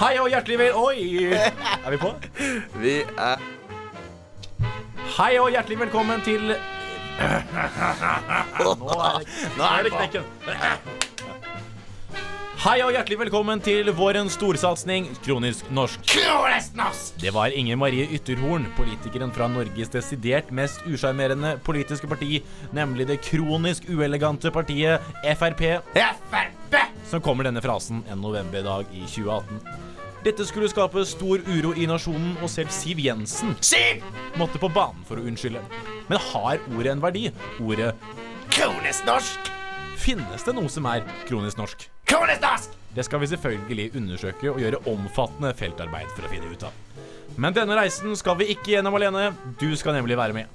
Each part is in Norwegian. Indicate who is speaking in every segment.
Speaker 1: Hei og hjertelig vel... Oi! Er vi på?
Speaker 2: Vi er
Speaker 1: Hei og hjertelig velkommen til Nå er det, nå er det knekken. Hei og hjertelig velkommen til vårens storsatsing Kronisk norsk. Det var Inger Marie Ytterhorn, politikeren fra Norges desidert mest usjarmerende politiske parti, nemlig det kronisk uelegante partiet Frp, som kommer denne frasen en novemberdag i 2018. Dette skulle skape stor uro i nasjonen, og selv Siv Jensen
Speaker 2: Siv!
Speaker 1: måtte på banen for å unnskylde. Men har ordet en verdi? Ordet
Speaker 2: Kronisk norsk!
Speaker 1: Finnes det noe som er kronisk norsk?
Speaker 2: Kronisk norsk!
Speaker 1: Det skal vi selvfølgelig undersøke og gjøre omfattende feltarbeid for å finne ut av. Men denne reisen skal vi ikke gjennom alene. Du skal nemlig være med.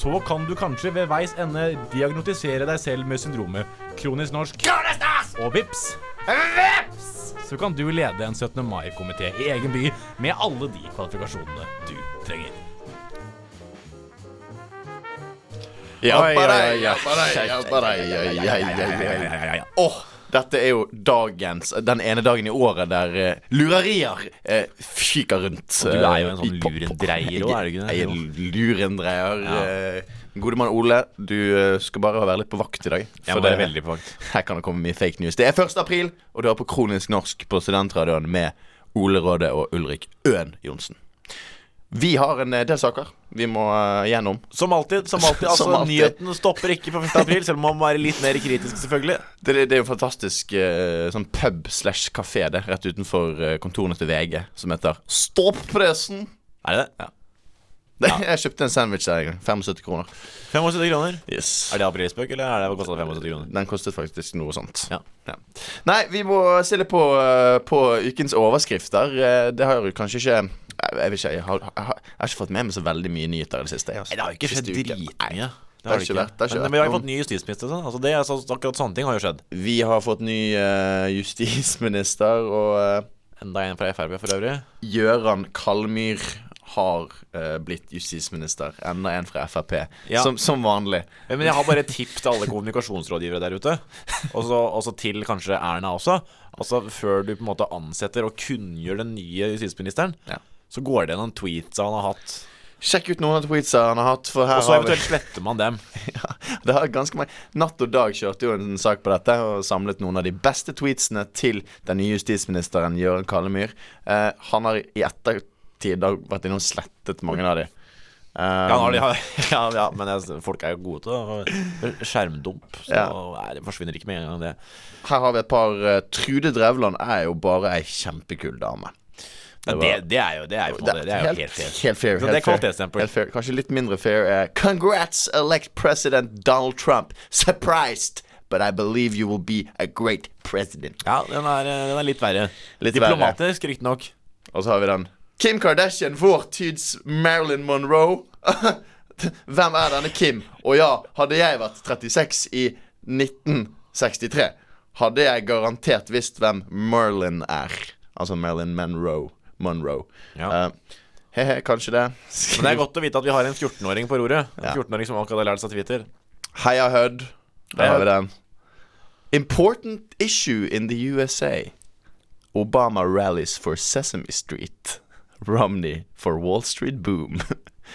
Speaker 1: Så kan du kanskje ved veis ende diagnotisere deg selv med syndromet kronisk norsk,
Speaker 2: Kronisk norsk!
Speaker 1: og vips,
Speaker 2: Vips!
Speaker 1: så kan du lede en 17. mai-komité i egen by med alle de kvalifikasjonene du trenger.
Speaker 3: Oi,
Speaker 2: Hjelpa
Speaker 3: oi,
Speaker 2: deg,
Speaker 3: oi.
Speaker 2: hjelpa deg, hjelpa deg. ja, ja, ja, ja, ja. Åh, dette er jo dagens Den ene dagen i året der eh, lurerier eh, fyker rundt.
Speaker 1: Og du er jo en
Speaker 2: eh,
Speaker 1: sånn
Speaker 2: i pop-
Speaker 1: lurendreier også, er du ikke det?
Speaker 2: Jeg er lurendreier. eh, Gode mann Ole, du eh, skal bare være litt på vakt i dag.
Speaker 1: Jeg må
Speaker 2: for det-
Speaker 1: være veldig på vakt.
Speaker 2: Her kan det komme mye fake news. Det er 1. april, og du er på Kronisk norsk på Studentradioen med Ole Råde og Ulrik Øen Johnsen. Vi har en eh, del saker vi må eh, gjennom.
Speaker 3: Som alltid. som alltid Altså,
Speaker 2: Som alltid.
Speaker 3: Nyhetene stopper ikke på 1. april, selv om man må være litt mer kritisk, selvfølgelig.
Speaker 2: Det, det, det er jo fantastisk eh, sånn pub slash kafé det, rett utenfor eh, kontorene til VG, som heter Stopp pressen!
Speaker 3: Er det det?
Speaker 2: Det- Jeg kjøpte en sandwich der en gang. 75 kroner.
Speaker 3: 75 kroner.
Speaker 2: Yes.
Speaker 3: Er det aprilspøk, eller er det hva kostet det 75 kroner?
Speaker 2: Den kostet faktisk noe sånt.
Speaker 3: Ja.
Speaker 2: Ja. Nei, vi må se litt på, eh, på ukens overskrifter. Eh, Det har jo kanskje ikke eh, Jeg, jeg, vet ikke, jeg, har, jeg, har, jeg har ikke fått med meg så veldig mye nyheter i det siste. jeg, altså.
Speaker 3: Nei, det har jo ikke skjedd
Speaker 2: Siste uke. Nei.
Speaker 3: dritmye.
Speaker 2: Det har ikke vært- det har ikke
Speaker 3: Men-
Speaker 2: vært
Speaker 3: Men vi har jo
Speaker 2: noen-
Speaker 3: fått ny justisminister. og Sånn. Altså, det, er så, akkurat sånne ting har jo skjedd.
Speaker 2: Vi har fått ny eh, justisminister, og eh,
Speaker 3: Enda en fra Frp for øvrig.
Speaker 2: Gjøran Kalmyr har eh, blitt justisminister. Enda en fra Frp.
Speaker 3: Ja.
Speaker 2: Som, som vanlig.
Speaker 3: Men jeg har bare et tipp til alle kommunikasjonsrådgivere der ute. Og så og så til kanskje Erna også. Altså Før du på en måte ansetter og kunngjør den nye justisministeren,
Speaker 2: Ja.
Speaker 3: så går det gjennom tweets han har hatt.
Speaker 2: Sjekk ut noen av tweetsa han har hatt. For her
Speaker 3: Og så
Speaker 2: har vi,
Speaker 3: eventuelt sletter man dem.
Speaker 2: ja, det har ganske mange Natt og Dag kjørte jo en sak på dette og samlet noen av de beste tweetsene til den nye justisministeren Gjøran Kallemyr. Eh, han har i ettertid da vært inne og slettet mange av de. Eh,
Speaker 3: Ja, nå har de- ja, ja men jeg, folk er jo gode til å skjermdump. Så
Speaker 2: Ja.
Speaker 3: nei, det forsvinner ikke med en gang, det.
Speaker 2: Her har vi et par. eh, Trude Drevland er jo bare ei kjempekul dame.
Speaker 3: Men
Speaker 2: var-
Speaker 3: det, det er jo, det er jo, på en måte- det er jo helt fair.
Speaker 2: helt fair. helt
Speaker 3: Så det er
Speaker 2: fair,
Speaker 3: kvalitetsstempel.
Speaker 2: helt fair. Kanskje litt mindre fair er Congrats, elect president Donald Trump. Surprised, but I believe you will be a great president.
Speaker 3: Ja, den er, den er litt verre.
Speaker 2: Litt
Speaker 3: Diplomatisk, riktignok.
Speaker 2: Og så har vi den. Kim Kardashian, vår tids Marilyn Monroe. Hvem er denne Kim? Og ja, hadde jeg vært 36 i 1963, hadde jeg garantert visst hvem Merlin er. Altså Marilyn Monroe. Monroe.
Speaker 3: Ja.
Speaker 2: Eh, He-he, kanskje det.
Speaker 3: Men det er godt å vite at vi har en 14-åring på roret. En
Speaker 2: Ja.
Speaker 3: 14-åring som akkurat har lært seg Twitter.
Speaker 2: Heia Hødd.
Speaker 3: Heia
Speaker 2: Der har vi
Speaker 3: Hødd.
Speaker 2: den. Important issue in the USA. Obama rallies for Sesame Street. Romney for Wall Street Boom.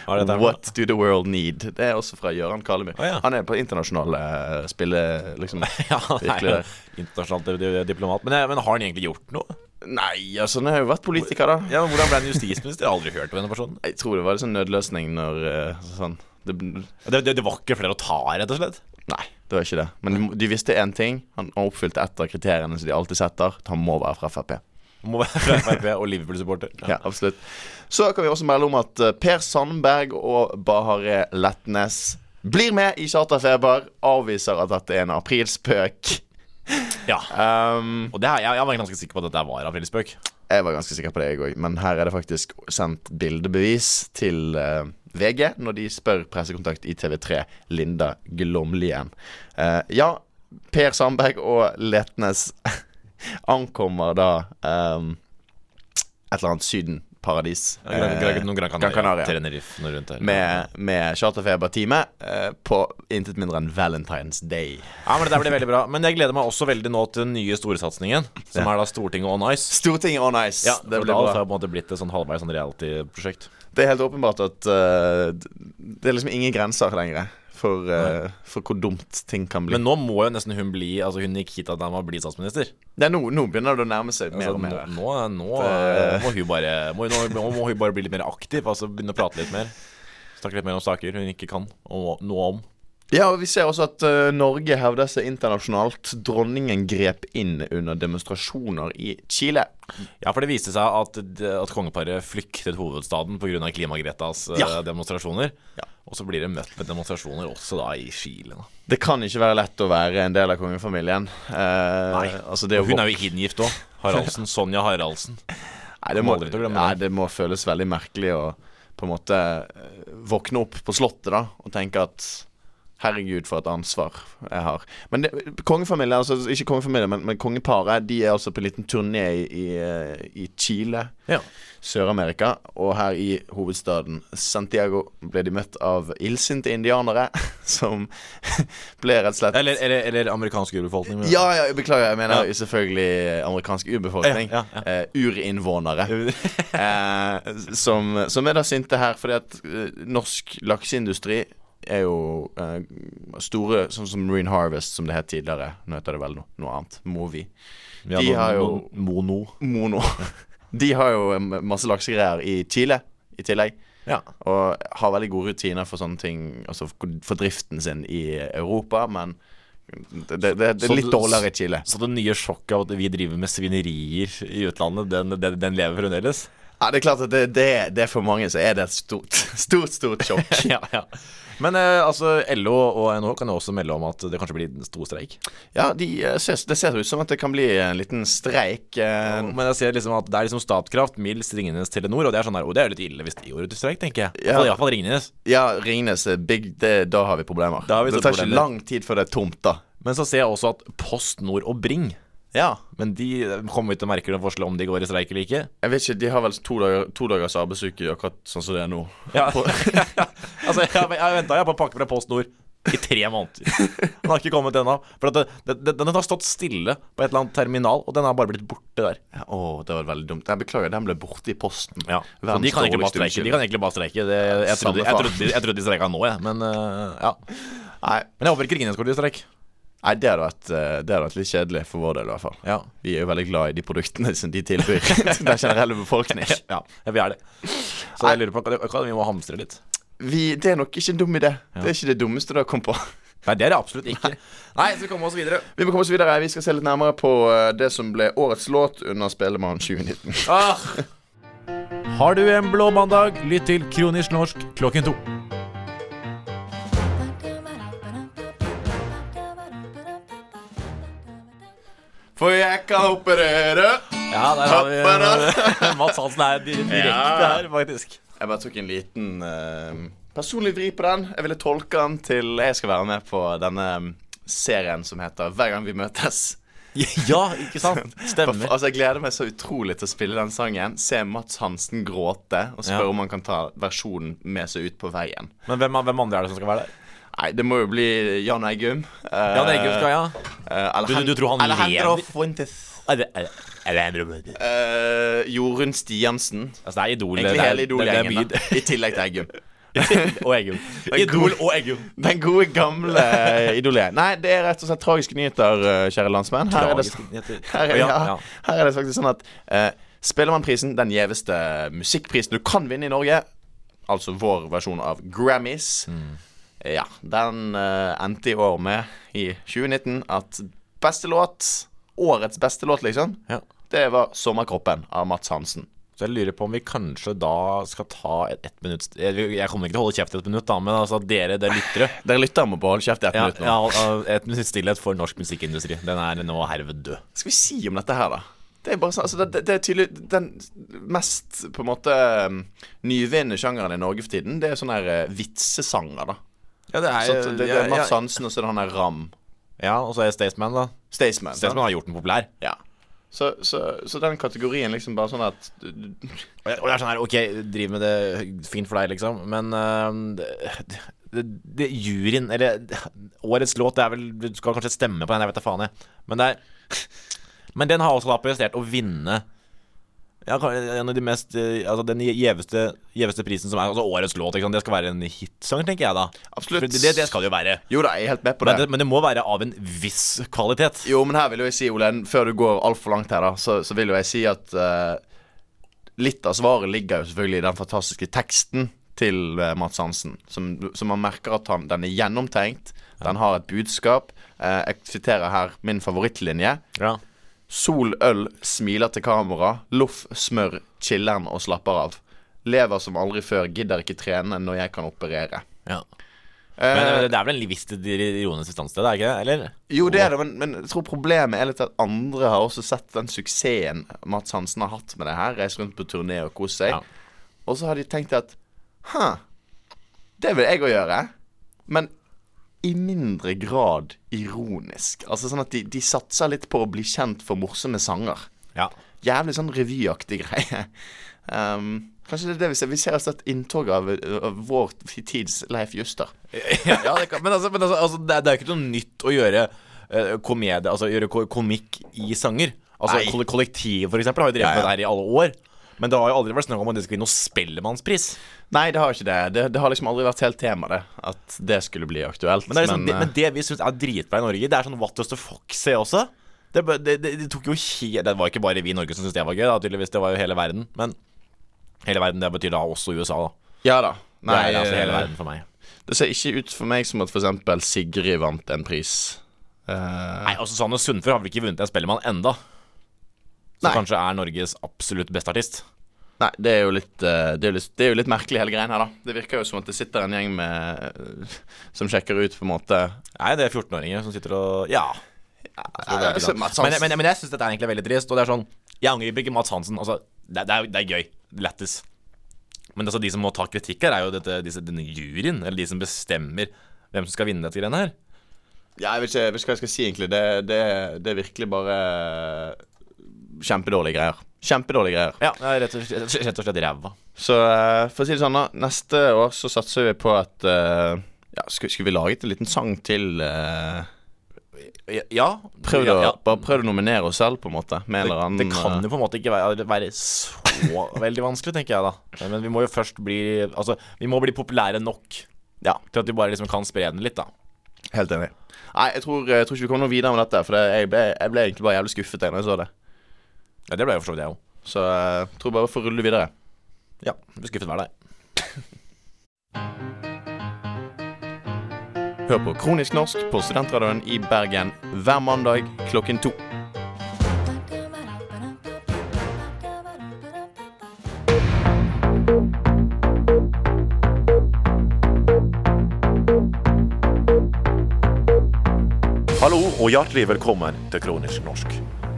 Speaker 3: Hva er dette her for
Speaker 2: What do the world need? Det er også fra Gøran Kallemyr.
Speaker 3: Å, ja.
Speaker 2: Han er på internasjonale eh, spille... Liksom,
Speaker 3: Ja, han er
Speaker 2: virkelig
Speaker 3: jo
Speaker 2: det.
Speaker 3: internasjonalt di- di- diplomat. Men, men har han egentlig gjort noe?
Speaker 2: Nei, altså, han har jo vært politiker, da.
Speaker 3: Ja, men Hvordan ble han justisminister? Jeg har aldri hørt om denne personen.
Speaker 2: Jeg tror det var en sånn nødløsning når eh, sånn det, Nei,
Speaker 3: Det, det, det var ikke flere å ta, rett og slett.
Speaker 2: det var ikke det. Men de, de visste én ting. Han han oppfylte ett av kriteriene som de alltid setter. at Han må være fra Frp.
Speaker 3: Må være fra Frp og Liverpool-supporter.
Speaker 2: Ja, absolutt. Så kan vi også melde om at eh, Per Sandberg og Bahareh Letnes blir med i Charterfeber. Avviser at dette er en aprilspøk.
Speaker 3: Ja.
Speaker 2: Ehm,
Speaker 3: Og det, her- jeg, jeg var ganske sikker på at dette var aprilspøk.
Speaker 2: jeg var ganske sikker på det, jeg òg, men her er det faktisk sendt bildebevis til eh, VG når de spør pressekontakt i TV3 Linda Glomlien. Eh, ja, Per Sandberg og Letnes ankommer da ehm, um, et eller annet Eh, Syden paradis.
Speaker 3: Ja, Gran- Gran- noen Gran Canaria,
Speaker 2: Canaria.
Speaker 1: Tenerife, noe rundt der.
Speaker 2: Med, med charterfebertime eh, på intet mindre enn Valentine's Day.
Speaker 3: Ja, men Det der blir veldig bra. Men jeg gleder meg også veldig nå til den nye storsatsingen, som er da Stortinget on Ice.
Speaker 2: Stortinget on ice.
Speaker 3: Ja,
Speaker 2: det
Speaker 3: for
Speaker 2: blir
Speaker 3: da
Speaker 2: bra.
Speaker 3: har det på en måte blitt et sånn halvveis sånn reality-prosjekt.
Speaker 2: Det er helt åpenbart at eh, det er liksom ingen grenser lenger for, eh, for hvor dumt ting kan bli.
Speaker 3: Men nå må jo nesten hun bli Altså hun Nikita Dama bli statsminister.
Speaker 2: Nei, nå, nå begynner det å nærme seg mer
Speaker 3: Altså,
Speaker 2: og
Speaker 3: nå,
Speaker 2: mer. her.
Speaker 3: nå, nå
Speaker 2: Det-
Speaker 3: må hun bare må, hun- nå, må hun bare bli litt mer aktiv. Altså Begynne å prate litt mer. Snakke litt mer om saker hun ikke kan og noe om.
Speaker 2: Ja, og Vi ser også at eh, Norge hevder seg internasjonalt. Dronningen grep inn under demonstrasjoner i Chile.
Speaker 3: Ja, for det viste seg at, det- at kongeparet flyktet hovedstaden pga. Klima-Gretas eh,
Speaker 2: Ja.
Speaker 3: demonstrasjoner.
Speaker 2: Ja.
Speaker 3: Og så blir det møtt med demonstrasjoner også da i Chile. Da.
Speaker 2: Det kan ikke være lett å være en del av kongefamilien.
Speaker 3: Nei.
Speaker 2: Altså det, å
Speaker 3: Hun
Speaker 2: vok-
Speaker 3: er jo hingift òg. Haraldsen. Sonja Haraldsen.
Speaker 2: nei, det,
Speaker 3: kommer
Speaker 2: må,
Speaker 3: aldri til å glemme
Speaker 2: nei,
Speaker 3: det.
Speaker 2: det må føles veldig merkelig å på en måte eh, våkne opp på Slottet da og tenke at Herregud, for et ansvar jeg har. Men det, kongefamilien, altså ikke kongefamilien, men, men kongeparet, de er altså på en liten turné i, i, eh, i Chile.
Speaker 3: Ja.
Speaker 2: Sør-Amerika, og her i hovedstaden Santiago ble de møtt av illsinte indianere, som ble rett og slett
Speaker 3: Eller, eller, eller amerikansk urbefolkning. men-
Speaker 2: ja, ja, jeg beklager. Jeg mener
Speaker 3: Ja.
Speaker 2: jo selvfølgelig eh, amerikansk urbefolkning.
Speaker 3: Ja, ja,
Speaker 2: Eh, urinnvånere. eh, som, som er da sinte her, fordi at eh, norsk lakseindustri er jo eh, store, sånn som Marine Harvest, som det het tidligere. Nå heter det vel noe, noe annet. Movi.
Speaker 3: Ja,
Speaker 2: de
Speaker 3: no-
Speaker 2: har jo-
Speaker 3: no- Mono.
Speaker 2: Mono. De har jo eh, masse laksegreier i Chile i tillegg.
Speaker 3: Ja.
Speaker 2: Og har veldig gode rutiner for sånne ting Altså for- for driften sin i Europa, men det, det, det, det
Speaker 3: Så
Speaker 2: er litt
Speaker 3: du-
Speaker 2: dårligere i Chile.
Speaker 3: Så det nye sjokket av at vi driver med svinerier i utlandet, den, den, den lever fremdeles?
Speaker 2: Ja, det er klart at det, det, det er for mange så er det et stort, stort, stort sjokk.
Speaker 3: ja, ja. Men eh, altså, LO og NHO kan jo også melde om at det kanskje blir en stor streik.
Speaker 2: Ja, de, eh, ses, Det ser ut som at det kan bli en liten streik. eh,
Speaker 3: Men jeg ser liksom at det er liksom Statkraft, Mills, Ringnes, Telenor, og det er sånn der, og det er jo litt ille hvis de gjorde til streik, tenker jeg.
Speaker 2: Ja.
Speaker 3: Ja. Iallfall Ringnes.
Speaker 2: Ja, Ringnes er big, det, da har vi problemer.
Speaker 3: Da har vi
Speaker 2: det
Speaker 3: store
Speaker 2: tar ikke
Speaker 3: problemer.
Speaker 2: lang tid før det er tomt, da.
Speaker 3: Men så ser jeg også at Post Nord og Bring
Speaker 2: Ja,
Speaker 3: Men de kommer vi til å merke noen forskjell om de går i streik eller ikke.
Speaker 2: jeg vet ikke, De har vel to, dager, to dagers arbeidsuke, akkurat sånn som det er nå.
Speaker 3: Ja. altså, jeg, jeg venta på en pakke fra Post Nord i tre måneder. Den har ikke kommet ennå. For at det, det, den har stått stille på et eller annet terminal, og den har bare blitt borte der.
Speaker 2: Ja, Å, det var veldig dumt. Jeg beklager, den ble borte i posten.
Speaker 3: Så de kan, egentlig
Speaker 2: dårligste
Speaker 3: bare streike. de kan egentlig bare streike. Det,
Speaker 2: Samme
Speaker 3: jeg, trodde, jeg,
Speaker 2: faen.
Speaker 3: trodde, de- jeg trodde de streika nå, jeg. Men, øh, ja.
Speaker 2: Nei,
Speaker 3: men jeg håper ikke Ringnes går til streik.
Speaker 2: nei det, hadde vært, eh, det hadde vært litt kjedelig for vår del, i hvert fall.
Speaker 3: Ja.
Speaker 2: Vi er jo veldig glad i de produktene som de tilbyr til den generelle befolkning.
Speaker 3: ja, vi er det. Så jeg lurer på hva- hva vi må hamstre litt.
Speaker 2: Vi, det er nok ikke en dum idé. Det er ikke det dummeste du har kommet på.
Speaker 3: Nei, det er det absolutt ikke. Nei, så vi kommer oss videre.
Speaker 2: Vi må komme oss videre. Vi skal se litt nærmere på eh, det som ble årets låt under Spellemann 2019.
Speaker 3: Ah.
Speaker 1: Har du en blå mandag, lytt til Kronisk norsk klokken to.
Speaker 2: For jeg kan operere.
Speaker 3: Ja, der har vi Mats Hansen er di- direkte
Speaker 2: Ja.
Speaker 3: her, faktisk.
Speaker 2: Jeg bare tok en liten eh, personlig vri på den. Jeg ville tolke den til jeg skal være med på denne mm, serien som heter Hver gang vi møtes.
Speaker 3: Ja, ikke sant? Stemmer.
Speaker 2: Altså Jeg gleder meg så utrolig til å spille den sangen. Se Mats Hansen gråte og spørre
Speaker 3: Ja.
Speaker 2: om han kan ta versjonen med seg ut på veien.
Speaker 3: Men hvem, hvem andre er det som skal være der?
Speaker 2: Nei, det må jo bli Jan Eggum. Eh, Uh,
Speaker 3: Jan Eggum skal, ja.
Speaker 2: eller
Speaker 3: Du-
Speaker 2: Hen-
Speaker 3: du tror han
Speaker 2: eller Henrik
Speaker 3: lever?
Speaker 2: Fuentes.
Speaker 3: Altså,
Speaker 2: Eh, Jorunn Stiansen.
Speaker 3: det er Idol.
Speaker 2: Egentlig
Speaker 3: det er-
Speaker 2: hele Idol-gjengen.
Speaker 3: det er
Speaker 2: da, I tillegg til Eggum.
Speaker 3: mye- Og Eggum. Idol og Eggum.
Speaker 2: Den gode, gamle Idol-gjengen. Nei, det er rett og slett tragiske nyheter, eh, kjære landsmenn. Her er det,
Speaker 3: Tragiske nyheter.
Speaker 2: her er,
Speaker 3: sånn. Ja,
Speaker 2: ja,
Speaker 3: ja.
Speaker 2: her er det faktisk sånn at eh, Spellemannprisen, den gjeveste musikkprisen du kan vinne i Norge, altså vår versjon av Grammys,
Speaker 3: Mm.
Speaker 2: ja, den eh, endte i år med, i 2019, at beste låt, årets beste låt, liksom,
Speaker 3: Ja.
Speaker 2: det var 'Sommerkroppen' av Mats Hansen.
Speaker 3: Så jeg lurer på om vi kanskje da skal ta et, ett minutt Jeg jeg kommer ikke til å holde kjeft i et minutt, da, men altså dere, det er lyttere
Speaker 2: Dere lytter må beholde kjeft i ett
Speaker 3: ja,
Speaker 2: minutt nå.
Speaker 3: ja, og Et minutt stillhet for norsk musikkindustri. Den er nå herved død.
Speaker 2: skal vi si om dette her, da? Det er bare sånn, altså det, det- det er tydelig Den mest på en måte um, nyvinnende sjangeren i Norge for tiden, det er sånne her eh, vitsesanger, da.
Speaker 3: Ja, det
Speaker 2: Så at det, det er Mads Hansen, og så er det han der Ram.
Speaker 3: Ja, og så er Staysman, da.
Speaker 2: Staysman. sant?
Speaker 3: Staysman har gjort den populær.
Speaker 2: Ja. Så, så, så den kategorien liksom bare sånn at
Speaker 3: Og jeg, og jeg er sånn her, ok, driv med det fint for deg, liksom, men eh, det, det, det juryen Eller årets låt, det er vel Du skal kanskje stemme på den, jeg vet da faen, jeg. Men det er Men den har også da prestert å vinne ja, kan- en av de mest eh, Altså den gjeveste, gjeveste prisen som er Altså årets låt, ikke sant. Det skal være en hitsang, tenker jeg da.
Speaker 2: Absolutt.
Speaker 3: For det, det skal det jo være.
Speaker 2: Jo da, jeg er helt med på
Speaker 3: Men
Speaker 2: det.
Speaker 3: det, men det må være av en viss kvalitet.
Speaker 2: Jo, men her vil jo jeg si, Olen, før du går altfor langt her, da, så, så vil jo jeg si at eh, litt av svaret ligger jo selvfølgelig i den fantastiske teksten til eh, Mats Hansen. Som, som man merker at han, den er gjennomtenkt. Den har et budskap. Eh, jeg siterer her min favorittlinje.
Speaker 3: Ja.
Speaker 2: Sol, øl, smiler til kamera. Loff, smør, chiller'n og slapper av. Lever som aldri før, gidder ikke trene når jeg kan operere.
Speaker 3: ja. Men
Speaker 2: Eh,
Speaker 3: eh, det er vel en viss ironisk distanse til det, er ikke det? Eller?
Speaker 2: Jo, det er det, men, men jeg tror problemet er litt at andre har også sett den suksessen Mats Hansen har hatt med det her. Reist rundt på turné og kost seg.
Speaker 3: Ja.
Speaker 2: Og så har de tenkt at Hæ, det vil jeg òg gjøre. Men i mindre grad ironisk. Altså sånn at de, de satser litt på å bli kjent for morsomme sanger.
Speaker 3: Ja.
Speaker 2: Jævlig sånn revyaktig greie. Um, kanskje det er det vi ser. Vi ser altså et inntog av, av vår tids Leif Juster.
Speaker 3: ja, det kan, men altså, men altså, altså det, er, det er jo ikke noe nytt å gjøre eh, komedie, altså gjøre ko komikk i sanger. Altså
Speaker 2: Nei.
Speaker 3: koll Kollektivet, for eksempel, har jo drevet
Speaker 2: Ja, ja.
Speaker 3: med det her i alle år. Men det har jo aldri vært snakk om at det skal bli noe Spellemannspris.
Speaker 2: Nei, det har ikke det. det. Det har liksom aldri vært helt tema, det. At det skulle bli aktuelt.
Speaker 3: Men det, er liksom, det,
Speaker 2: eh,
Speaker 3: men det vi syns er dritbra i Norge, det er sånn What Does The Fuck Se også. Det, bare- det, det, det tok jo helt Det var ikke bare vi i Norge som syntes det var gøy, da, tydeligvis. Det var jo hele verden. Men hele verden, det betyr da også USA, da.
Speaker 2: Ja da.
Speaker 3: Nei,
Speaker 2: Nei,
Speaker 3: det er altså hele
Speaker 2: eh,
Speaker 3: verden for meg.
Speaker 2: det ser ikke ut for meg som at for eksempel Sigrid vant en pris. Eh,
Speaker 3: Nei, og Susanne Sundfør har vel ikke vunnet en Spellemann enda Som
Speaker 2: Nei.
Speaker 3: kanskje er Norges absolutt beste artist.
Speaker 2: nei, det er jo litt eh, Det er jo litt, det er jo litt merkelig, hele greien her, da. Det virker jo som at det sitter en gjeng med eh, Som sjekker ut, på en måte.
Speaker 3: Nei, det er 14-åringer som sitter og Ja.
Speaker 2: Nei, altså, Mats
Speaker 3: Men,
Speaker 2: Hansen-
Speaker 3: men, men jeg syns dette er egentlig veldig trist. Og det er sånn Jeg angriper ikke Mats Hansen. Altså, det, det, er, det er gøy. Lættis. Men altså, de som må ta kritikk her, er jo dette, disse, denne juryen. Eller de som bestemmer hvem som skal vinne dette greiene her.
Speaker 2: Ja, jeg vet ikke, jeg vet ikke hva jeg skal si, egentlig. Det, det, det er virkelig bare eh, Kjempedårlige greier. Kjempedårlige greier.
Speaker 3: Ja, det er rett og slett, rett og slett ræva.
Speaker 2: Så eh, for å si det sånn, da. Neste år så satser vi på at eh, ja, skulle, skulle vi laget en liten sang til eh,
Speaker 3: Ja.
Speaker 2: Prøvd å,
Speaker 3: ja, ja.
Speaker 2: Bare prøvd å nominere oss selv, på en måte. Med en
Speaker 3: Det,
Speaker 2: eller annen eh,
Speaker 3: det kan jo på en måte ikke være, være så veldig vanskelig, tenker jeg da. Men vi må jo først bli Altså, vi må bli populære nok
Speaker 2: Ja,
Speaker 3: til at vi bare liksom kan spre den litt, da.
Speaker 2: helt enig. Nei, jeg tror, jeg tror ikke vi kommer noe videre med dette. For det, jeg, ble, jeg ble egentlig bare jævlig skuffet da jeg så det.
Speaker 3: Ja, Det ble jo for så vidt jeg òg.
Speaker 2: Så eh, jeg tror bare vi får rulle videre.
Speaker 3: Ja. Blir skuffet hver dag.
Speaker 2: Hør på Kronisk norsk på Studentradioen i Bergen hver mandag klokken to.
Speaker 4: Hallo og hjertelig velkommen til Kronisk norsk.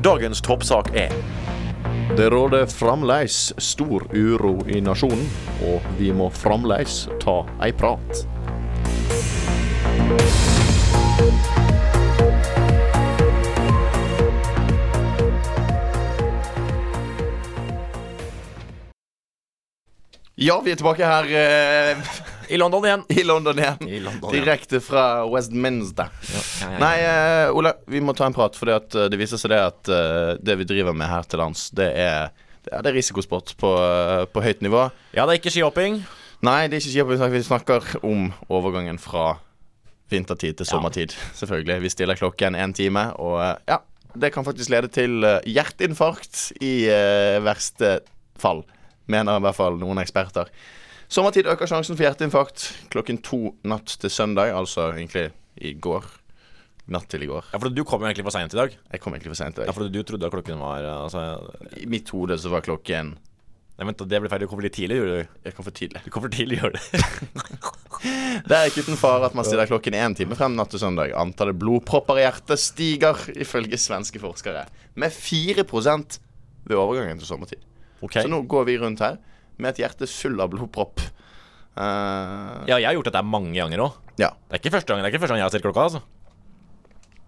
Speaker 4: Dagens toppsak er
Speaker 2: Det råder fremdeles stor uro i nasjonen, og vi må fremdeles ta ei prat. Ja, vi er tilbake her eh,
Speaker 3: I London igjen.
Speaker 2: i London igjen.
Speaker 3: I London, ja.
Speaker 2: Direkte fra Westminster.
Speaker 3: Ja, ja, ja.
Speaker 2: Nei, eh, Ole, vi må ta en prat, for det viser seg det at eh, det vi driver med her til lands, det er, det er, det er risikosport på, eh, på høyt nivå.
Speaker 3: Ja, det er ikke skihopping.
Speaker 2: Nei, det er ikke skihopping, vi snakker- vi snakker om overgangen fra vintertid til sommertid, selvfølgelig. Vi stiller klokken en time, og eh, ja, det kan faktisk lede til eh, hjerteinfarkt i eh, verste fall, mener i hvert fall noen eksperter. Sommertid øker sjansen for hjerteinfarkt klokken to natt til søndag, altså egentlig i går. Natt til i går.
Speaker 3: Ja, for du kom jo egentlig for seint i dag.
Speaker 2: Jeg kom egentlig for sent i
Speaker 3: Ja,
Speaker 2: dag.
Speaker 3: for du trodde at klokken var altså,
Speaker 2: I mitt hode så var klokken
Speaker 3: Nei, vent, da, det ble feil. Du kom for litt tidlig, gjorde du.
Speaker 2: Jeg kom for tidlig.
Speaker 3: Du kom for tidlig, gjør det.
Speaker 2: Det er ikke uten fare at man stiller klokken én time frem natt til søndag. Antallet blodpropper i hjertet stiger, ifølge svenske forskere, med 4 ved overgangen til sommertid.
Speaker 3: Ok.
Speaker 2: Så nå går vi rundt her med et hjerte full av blodpropp. Eh,
Speaker 3: Ja, jeg har gjort dette mange ganger òg.
Speaker 2: ja.
Speaker 3: Det er ikke første gang, det er ikke første gang jeg har sett klokka, altså.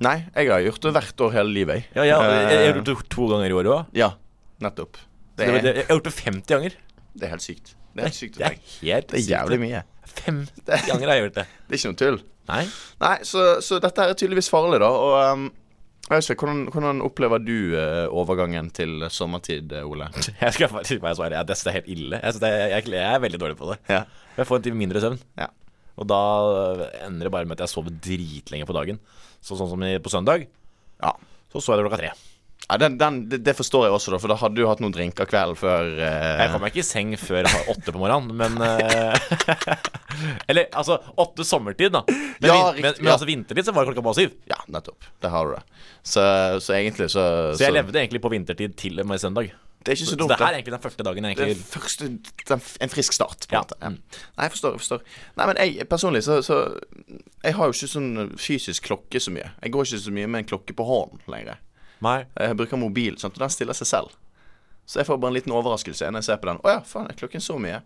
Speaker 2: Nei, jeg har gjort det hvert år hele livet, jeg.
Speaker 3: Ja, ja, jeg, jeg, har gjort det to ganger i året òg.
Speaker 2: Ja, nettopp. Det er,
Speaker 3: Jeg jeg har gjort eh, det 50 ganger.
Speaker 2: det er helt sykt. Det er helt sykt å
Speaker 3: Det er
Speaker 2: tenke.
Speaker 3: helt
Speaker 2: Det er jævlig mye.
Speaker 3: 50 ganger har jeg gjort det.
Speaker 2: Det er ikke noe tull.
Speaker 3: Nei.
Speaker 2: Nei, så, så dette her er tydeligvis farlig, da. Og ehm, jeg vet ikke, hvordan, hvordan opplever du eh, overgangen til sommertid, eh, Ole?
Speaker 3: Jeg skal faktisk bare svare Jeg synes det er helt ille. Jeg, synes det er, jeg, jeg er veldig dårlig på det.
Speaker 2: Ja.
Speaker 3: Jeg får en time mindre søvn.
Speaker 2: Ja.
Speaker 3: Og da øh, ender det bare med at jeg sover dritlenge på dagen. Så, sånn som i- på søndag,
Speaker 2: ja.
Speaker 3: så sov jeg til klokka tre.
Speaker 2: Ja, den, den, det, det forstår jeg også, da, for da hadde du hatt noen drinker kvelden før. eh,
Speaker 3: Jeg kom meg ikke i seng før halv åtte på morgenen, men øh, Eller altså, åtte sommertid, da. Men,
Speaker 2: Ja,
Speaker 3: vin- men,
Speaker 2: riktig,
Speaker 3: men
Speaker 2: ja.
Speaker 3: altså vintertid så var det klokka bare syv.
Speaker 2: Ja, nettopp. Der har du det. Så, så egentlig så
Speaker 3: Så jeg levde egentlig på vintertid til og med søndag.
Speaker 2: Det er ikke
Speaker 3: Så
Speaker 2: så
Speaker 3: det
Speaker 2: dumt.
Speaker 3: her er
Speaker 2: da.
Speaker 3: egentlig den første dagen jeg
Speaker 2: Det er
Speaker 3: egentlig
Speaker 2: første, den, f- en frisk start, på en
Speaker 3: Ja.
Speaker 2: måte. Ja. Nei, jeg forstår. jeg forstår Nei, men jeg personlig så, så Jeg har jo ikke sånn fysisk klokke så mye. Jeg går ikke så mye med en klokke på hånden lenger.
Speaker 3: Nei.
Speaker 2: Jeg bruker mobil, sant? og den stiller seg selv. Så jeg får bare en liten overraskelse når jeg ser på den. Å ja, faen, er klokken så mye?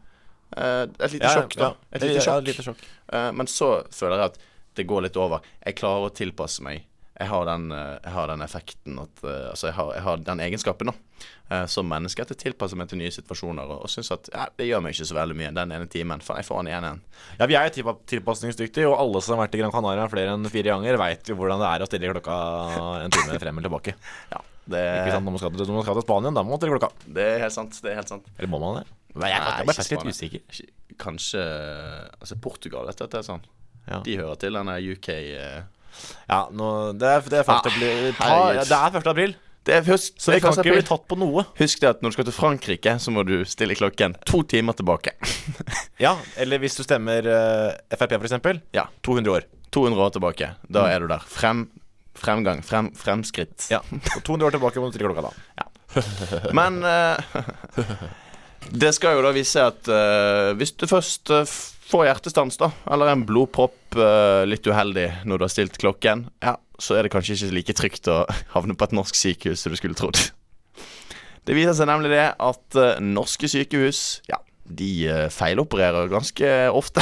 Speaker 2: Eh, et lite sjokk, da. Et lite sjokk.
Speaker 3: Ja, et lite sjokk.
Speaker 2: Eh, men så føler jeg at det går litt over. Jeg klarer å tilpasse meg. Jeg har den, eh, jeg har den effekten at eh, Altså, jeg har, jeg har den egenskapen, da. eh, som menneske at jeg tilpasser meg til nye situasjoner og, og syns at ja, det gjør meg ikke så veldig mye den ene timen. Faen, jeg får den igjen igjen.
Speaker 3: Ja, vi er jo tilpa- tilpasningsdyktige, og alle som har vært i Gran Canaria flere enn fire ganger, veit jo hvordan det er å stille klokka en time frem eller tilbake.
Speaker 2: Ja, det,
Speaker 3: Ikke sant? Når man skal til, når man skal til Spania, da må man stille klokka.
Speaker 2: det er helt sant. Det er helt sant.
Speaker 3: Eller må man det? Nei, jeg,
Speaker 2: Nei,
Speaker 3: jeg ble
Speaker 2: ikke
Speaker 3: faktisk litt
Speaker 2: Spania.
Speaker 3: usikker.
Speaker 2: Ikke- Kanskje Altså, Portugal, dette, dette er sånn.
Speaker 3: Ja.
Speaker 2: De hører til denne UK eh,
Speaker 3: Ja, nå, det, er, det, er første
Speaker 2: Ah,
Speaker 3: april. Ta,
Speaker 2: herregud.
Speaker 3: ja, det er 1. april,
Speaker 2: Det er husk,
Speaker 3: så vi kan ikke bli
Speaker 2: husk,
Speaker 3: tatt på noe.
Speaker 2: husk det at når du skal til Frankrike, så må du stille klokken to timer tilbake.
Speaker 3: Ja, Eller hvis du stemmer eh, Frp, for eksempel.
Speaker 2: Ja.
Speaker 3: 200 år.
Speaker 2: 200 år tilbake. Da er du der. Frem, fremgang. Frem, fremskritt.
Speaker 3: Ja, og 200 år tilbake må du stille klokka da.
Speaker 2: Men eh, det skal jo da vise seg at eh, hvis du først eh, får hjertestans, da, eller en blodpropp eh, litt uheldig når du har stilt klokken, ja, så er det kanskje ikke like trygt å havne på et norsk sykehus som du skulle trodd. Det viser seg nemlig det at eh, norske sykehus ja, de eh, feilopererer ganske ofte.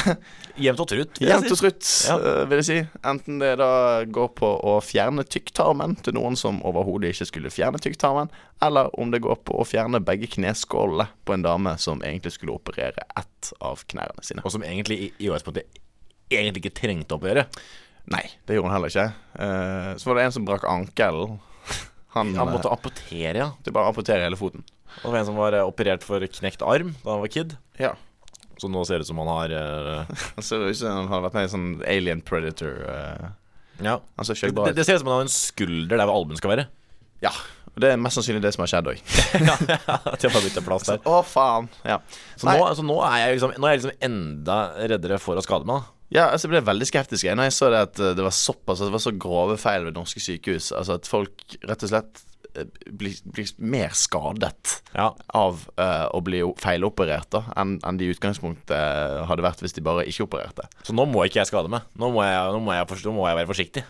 Speaker 3: Jevnt og trutt. vil jeg
Speaker 2: Jevnt
Speaker 3: si.
Speaker 2: og trutt,
Speaker 3: Ja.
Speaker 2: eh, vil jeg si. Enten det da går på å fjerne tykktarmen til noen som overhodet ikke skulle fjerne tykktarmen, eller om det går på å fjerne begge kneskålene på en dame som egentlig skulle operere ett av knærne sine.
Speaker 3: Og som egentlig i, i utgangspunktet egentlig ikke trengte å operere.
Speaker 2: Nei, det gjorde hun heller ikke. Eh, så var det en som brakk ankelen. Han,
Speaker 3: Han måtte
Speaker 2: eh,
Speaker 3: amputere, ja.
Speaker 2: det bare amputerer hele foten.
Speaker 3: Og det var en som var eh, operert for knekt arm da han var kid.
Speaker 2: Ja.
Speaker 3: Så nå ser det ut som han har eh,
Speaker 2: Han ser ut som han har vært med i sånn Alien Predator. eh,
Speaker 3: Ja.
Speaker 2: han ser
Speaker 3: Det,
Speaker 2: ikke bra ut.
Speaker 3: det ser ut som han har en skulder der hvor albuen skal være.
Speaker 2: Ja, og det er mest sannsynlig det som har skjedd òg.
Speaker 3: Ja, til å bare bytte plass der.
Speaker 2: Å, faen. Ja.
Speaker 3: Så nå, så nå er jeg liksom Nå er jeg liksom enda reddere for å skade meg. da.
Speaker 2: Ja, altså jeg ble veldig skeptisk jeg, når jeg så det at eh, det var såpass at det var så grove feil ved norske sykehus. Altså at folk rett og slett eh, blir, blir mer skadet
Speaker 3: Ja.
Speaker 2: av eh, å bli o- feiloperert da, enn enn de i utgangspunktet hadde vært hvis de bare ikke opererte.
Speaker 3: Så nå må ikke jeg skade meg. Nå må jeg, nå må jeg, forst- nå må jeg være forsiktig.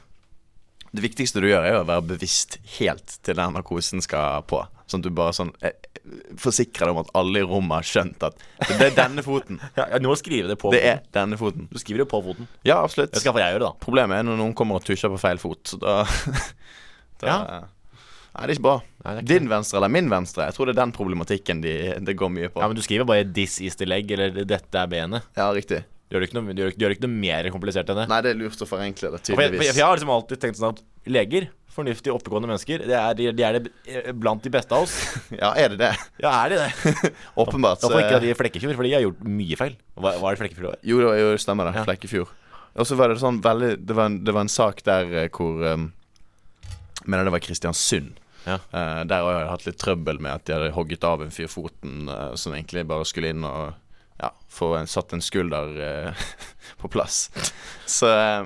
Speaker 2: Det viktigste du gjør, er jo å være bevisst helt til den narkosen skal på. Sånn at du bare sånn eh, forsikrer deg om at alle i rommet har skjønt at det er denne foten.
Speaker 3: Ja, ja, du må skrive det på
Speaker 2: Det
Speaker 3: foten.
Speaker 2: er denne foten.
Speaker 3: Du skriver det på foten.
Speaker 2: Ja, absolutt.
Speaker 3: Det skal jeg gjøre, da.
Speaker 2: Problemet er når noen kommer og tusjer på feil fot. Så da, da
Speaker 3: Ja.
Speaker 2: Nei, det er ikke bra.
Speaker 3: Nei, det er ikke
Speaker 2: Din venstre eller min venstre? Jeg tror det er den problematikken de, det går mye på.
Speaker 3: Ja, Men du skriver bare 'this is the leg' eller 'dette er benet'.
Speaker 2: Ja, riktig.
Speaker 3: Du gjør det ikke noe, du gjør, ikke- du gjør ikke noe mer komplisert enn det.
Speaker 2: Nei, det er lurt å forenkle det,
Speaker 3: For jeg, for jeg,
Speaker 2: tydeligvis.
Speaker 3: for jeg har liksom alltid tenkt sånn at leger, fornuftige, oppegående mennesker, de er, de, de er det, eh, blant de beste av oss.
Speaker 2: Ja, er det det?
Speaker 3: Ja, er de det?
Speaker 2: Åpenbart.
Speaker 3: Da
Speaker 2: Så,
Speaker 3: får ikke de flekkefjord, for de har gjort mye feil. Hva, hva er det flekkefjord er?
Speaker 2: jo, det var- jo, det stemmer det.
Speaker 3: Ja.
Speaker 2: Flekkefjord. Og så var det sånn veldig Det var en, det var en sak der eh, hvor um, Jeg mener det var Kristiansund.
Speaker 3: Ja.
Speaker 2: Eh, der har jeg hatt litt trøbbel med at de hadde hogget av en fyr foten eh, som egentlig bare skulle inn og ja, få en, satt en skulder eh, på plass. Så, eh,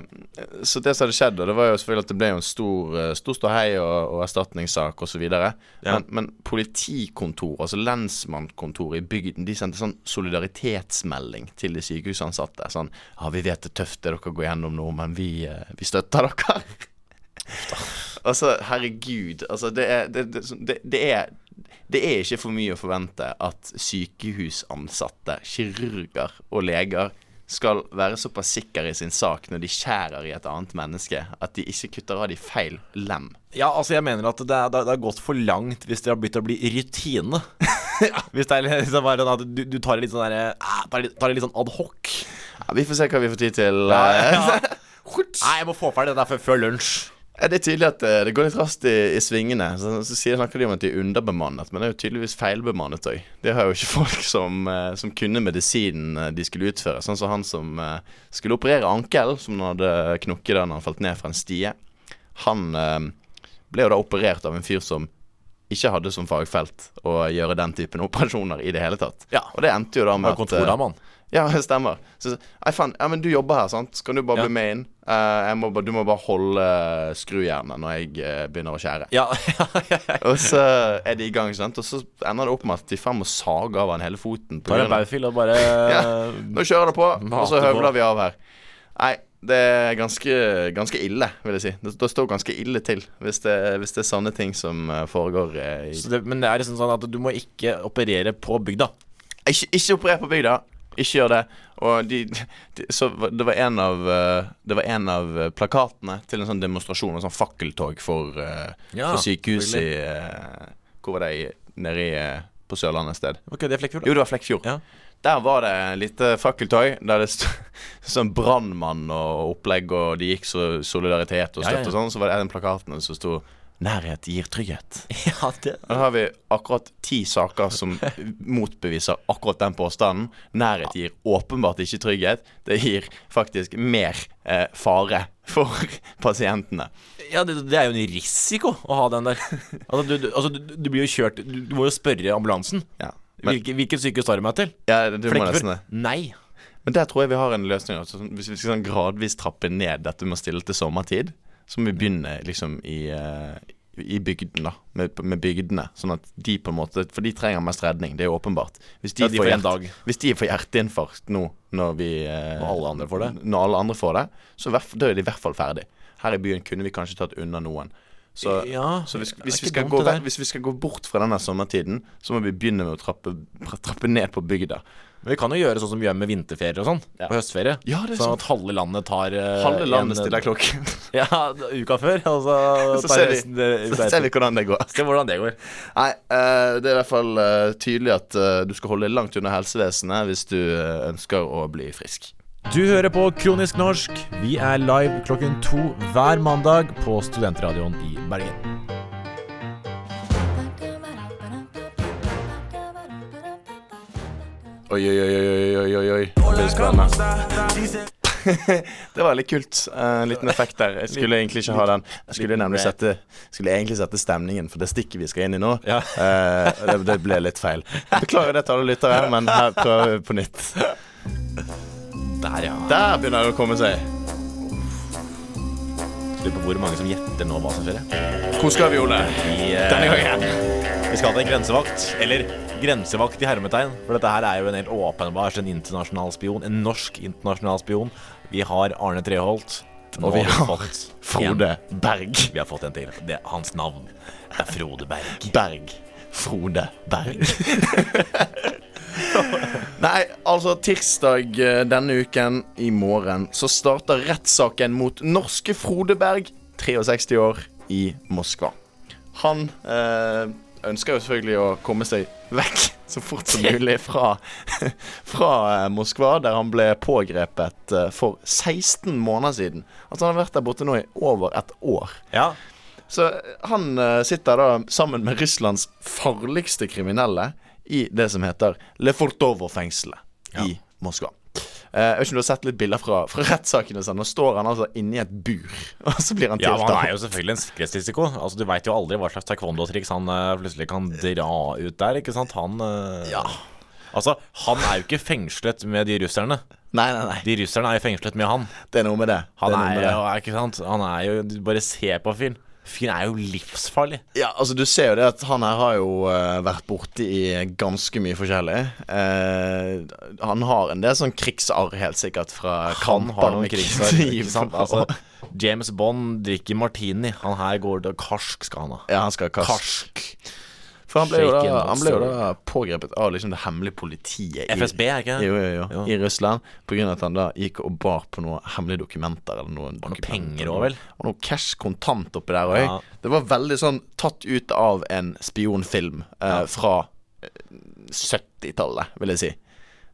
Speaker 2: så det som hadde skjedd, og det var jo selvfølgelig at det ble jo en stor, eh, stor ståhei og, og erstatningssak osv. videre
Speaker 3: Ja.
Speaker 2: Men, men politikontor, altså lensmannskontoret i bygden, de sendte sånn solidaritetsmelding til de sykehusansatte. Sånn Ja, vi vet det er tøft det dere går gjennom nå, men vi, eh, vi støtter dere. Altså, herregud. Altså, det er det, det, det, det er det er ikke for mye å forvente at sykehusansatte, kirurger og leger skal være såpass sikker i sin sak når de skjærer i et annet menneske, at de ikke kutter av de feil lem.
Speaker 3: Ja, altså jeg mener at det er, det er- det er gått for langt hvis det har begynt å bli rutine. Hvis det er liksom bare sånn at du, du tar det litt sånn derre eh, Tar det tar det litt sånn adhoc.
Speaker 2: Ja, vi får se hva vi får tid til. eh, Huts.
Speaker 3: Nei, jeg må få ferdig det der før, før lunsj.
Speaker 2: Ja, det er tydelig at eh, det går litt raskt i, i svingene. Så, så sier, snakker de om at de er underbemannet, men det er jo tydeligvis feilbemannet òg. Det har jo ikke folk som, eh, som kunne medisinen eh, de skulle utføre. Sånn som han som eh, skulle operere ankelen, som han hadde knukket da han falt ned fra en stie. Han eh, ble jo da operert av en fyr som ikke hadde som fagfelt å gjøre den typen operasjoner i det hele tatt.
Speaker 3: Ja.
Speaker 2: Og det endte jo da med
Speaker 3: Med
Speaker 2: at eh,
Speaker 3: kontordamaen.
Speaker 2: ja, det stemmer. Så, nei, faen, ja, men du jobber her, sant? Skal du bare
Speaker 3: Ja.
Speaker 2: bli med inn? Eh, jeg må bare, du må bare holde eh, skrujernet når jeg eh, begynner å skjære.
Speaker 3: Ja, ja, ja, ja.
Speaker 2: Og så er de i gang, sant? og så ender det opp med at de faen må sage av han hele foten. På
Speaker 3: Tar en
Speaker 2: grunn av-
Speaker 3: baufil og bare
Speaker 2: Ja. Nå kjører det på, og så
Speaker 3: Mater på.
Speaker 2: høvler vi av her. Nei, det er ganske, ganske ille, vil jeg si. Det, det står ganske ille til hvis det, hvis det er sanne ting som eh, foregår eh, i
Speaker 3: Så det, Men det er liksom sånn at du må ikke operere på bygda.
Speaker 2: Ikke, ikke operer på bygda. Ikke gjør det. Og de, de, så var- det var en av eh, Det var en av eh, plakatene til en sånn demonstrasjon, en sånn fakkeltog for, eh,
Speaker 3: Ja,
Speaker 2: for sykehus i eh, Hvor var det? i- Nede i, eh, på Sørlandet et sted.
Speaker 3: Ok, det er flekkfjord.
Speaker 2: Jo, det var Flekkfjord.
Speaker 3: Ja.
Speaker 2: Der var det et lite fakkeltog der det stod sånn brannmann og opplegg, og de gikk så solidaritet og
Speaker 3: Ja,
Speaker 2: støtte
Speaker 3: ja, ja.
Speaker 2: og sånn. Så var det en av plakatene som sto 'Nærhet gir trygghet'.
Speaker 3: Ja, det
Speaker 2: Her har vi akkurat ti saker som motbeviser akkurat den påstanden. Nærhet gir åpenbart ikke trygghet. Det gir faktisk mer eh, fare for pasientene.
Speaker 3: Ja, det, det er jo en risiko å ha den der. Altså, du, du, altså, du, du blir jo kjørt Du, du må jo spørre ambulansen.
Speaker 2: Ja, men,
Speaker 3: Hvilke, hvilket sykehus tar du meg til?
Speaker 2: ja du må nesten
Speaker 3: Flekkefjord?
Speaker 2: det.
Speaker 3: Nei.
Speaker 2: Men der tror jeg vi har en løsning. Altså. Sånn, Hvis vi skal sånn gradvis trappe ned dette med å stille til sommertid, så må vi begynne liksom i eh, i bygden, da. Med, med bygdene. Sånn at de på en måte For de trenger mest redning, det er åpenbart. Hvis de,
Speaker 3: Ja, de
Speaker 2: får,
Speaker 3: får en
Speaker 2: hjert-
Speaker 3: dag.
Speaker 2: Hvis de får hjerteinfarkt nå når vi eh,
Speaker 3: Når alle andre får det.
Speaker 2: Når alle andre får det, så hvert- da er de i hvert fall ferdig. Her i byen kunne vi kanskje tatt unna noen. Så,
Speaker 3: Ja,
Speaker 2: så hvis,
Speaker 3: det er
Speaker 2: hvis,
Speaker 3: ikke
Speaker 2: vi skal
Speaker 3: dumt
Speaker 2: gå,
Speaker 3: det der.
Speaker 2: vekk- hvis vi skal gå bort fra denne sommertiden, så må vi begynne med å trappe, trappe ned på bygda.
Speaker 3: Men vi kan jo gjøre sånn som vi gjør med vinterferier og sånn. På høstferie.
Speaker 2: Ja, det er
Speaker 3: sånn at halve landet tar eh,
Speaker 2: Halve landet
Speaker 3: en-
Speaker 2: stiller klokken.
Speaker 3: Ja, uka før, og så,
Speaker 2: Så
Speaker 3: tar
Speaker 2: ser vi-
Speaker 3: resten det uka
Speaker 2: Så ser vi
Speaker 3: etter.
Speaker 2: hvordan det går.
Speaker 3: Se hvordan det går.
Speaker 2: Nei, eh, det er i hvert fall eh, tydelig at eh, du skal holde deg langt unna helsevesenet hvis du eh, ønsker å bli frisk.
Speaker 1: Du hører på Kronisk norsk. Vi er live klokken to hver mandag på Studentradioen i Bergen.
Speaker 2: Oi, oi, oi, oi, oi, oi, oi. Det blir spennende. Det var litt kult. eh, En liten effekt der. Jeg skulle egentlig ikke ha den. Jeg skulle nemlig sette, skulle egentlig sette stemningen for det stikket vi skal inn i nå.
Speaker 3: Ja.
Speaker 2: Eh, det, det ble litt feil. Beklager det til alle lyttere, men her prøver vi på nytt.
Speaker 3: Der, ja.
Speaker 2: Der begynner det å komme seg.
Speaker 3: Lurer på hvor mange som gjetter nå hva som skjer. jeg.
Speaker 2: Hvor skal vi, Ole?
Speaker 3: Vi, eh,
Speaker 2: Denne gangen.
Speaker 3: Vi skal til en grensevakt, eller grensevakt i hermetegn. For dette her er jo en helt åpenbart en internasjonal spion. En norsk internasjonal spion. Vi har Arne Treholt. Nå
Speaker 2: Og vi har
Speaker 3: fått
Speaker 2: Frode
Speaker 3: en.
Speaker 2: Berg.
Speaker 3: Vi har fått en til. Det er hans navn. Det er Frode Berg.
Speaker 2: Berg. Frode Berg. Nei, altså tirsdag eh, denne uken, i morgen, så starter rettssaken mot norske Frode Berg, 63 år, i Moskva. Han eh, ønsker jo selvfølgelig å komme seg vekk så fort som mulig fra, fra eh, Moskva, der han ble pågrepet eh, for 16 måneder siden. Altså han har vært der borte nå i over et år.
Speaker 3: Ja.
Speaker 2: Så han eh, sitter da sammen med Russlands farligste kriminelle i det som heter Lefortovo-fengselet i Moskva. Eh, jeg vet ikke om du har sett litt bilder fra, fra rettsaken. og sånn. Nå står han altså inni et bur, og så blir han
Speaker 3: Ja, men
Speaker 2: tiltalt.
Speaker 3: Han er jo selvfølgelig en sikkerhetsrisiko. Altså, Du veit jo aldri hva slags taekwondo-triks han eh, plutselig kan dra ut der. ikke sant? Han eh, Altså, han er jo ikke fengslet med de russerne.
Speaker 2: Nei, nei, nei.
Speaker 3: De russerne er jo fengslet med han.
Speaker 2: Det er noe med det.
Speaker 3: Han
Speaker 2: det
Speaker 3: er,
Speaker 2: noe med det.
Speaker 3: jo, ikke sant? Han er jo du Bare se på fyren. Fyren er jo livsfarlig.
Speaker 2: Ja, altså Du ser jo det at han her har jo eh, vært borti i ganske mye forskjellig. Eh, han har en del sånn krigsarr, helt sikkert, fra
Speaker 3: Han har noen
Speaker 2: med
Speaker 3: krigsår.
Speaker 2: kniv,
Speaker 3: Ikke sant? Altså,
Speaker 2: og-
Speaker 3: James Bond drikker martini. Han her går det Karsk skal han ha. altså.
Speaker 2: Ja, han skal ha karsk.
Speaker 3: Karsk.
Speaker 2: For han ble, jo
Speaker 1: Shaken
Speaker 2: da, han ble jo
Speaker 1: monster.
Speaker 2: da pågrepet av liksom det hemmelige politiet i,
Speaker 3: FSB, er ikke det?
Speaker 2: jo, jo, jo, i Russland. På grunn av at han da gikk og bar på noen hemmelige dokumenter. Eller noen dokumenter,
Speaker 3: penger
Speaker 2: og
Speaker 3: også, vel?
Speaker 2: Og noe cash kontant oppi der òg.
Speaker 3: Ja.
Speaker 2: Det var veldig sånn tatt ut av en spionfilm eh, fra eh, 70-tallet, vil jeg si.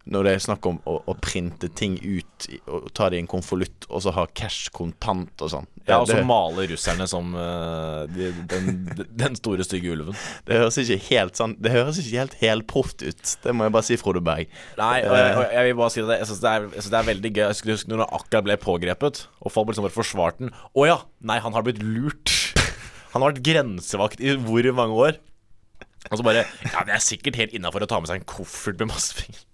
Speaker 2: Når det er snakk om å, å printe ting ut i- og ta det i en konvolutt, og så ha cash kontant og sånn.
Speaker 3: Ja, og så
Speaker 2: det,
Speaker 3: maler russerne som eh, de, den, den store, stygge ulven.
Speaker 2: det høres ikke helt sånn Det høres ikke helt helproft ut. Det må jeg bare si, Frode Berg.
Speaker 3: Nei, og jeg, og jeg vil bare si det Jeg synes det, er, jeg synes det er veldig gøy Jeg skulle huske når han akkurat ble pågrepet Og folk liksom bare forsvarte den Å ja, nei, han har blitt lurt Han har vært grensevakt i hvor mange år Og så bare Ja, det er sikkert helt innenfor å ta med seg en koffert med masse penger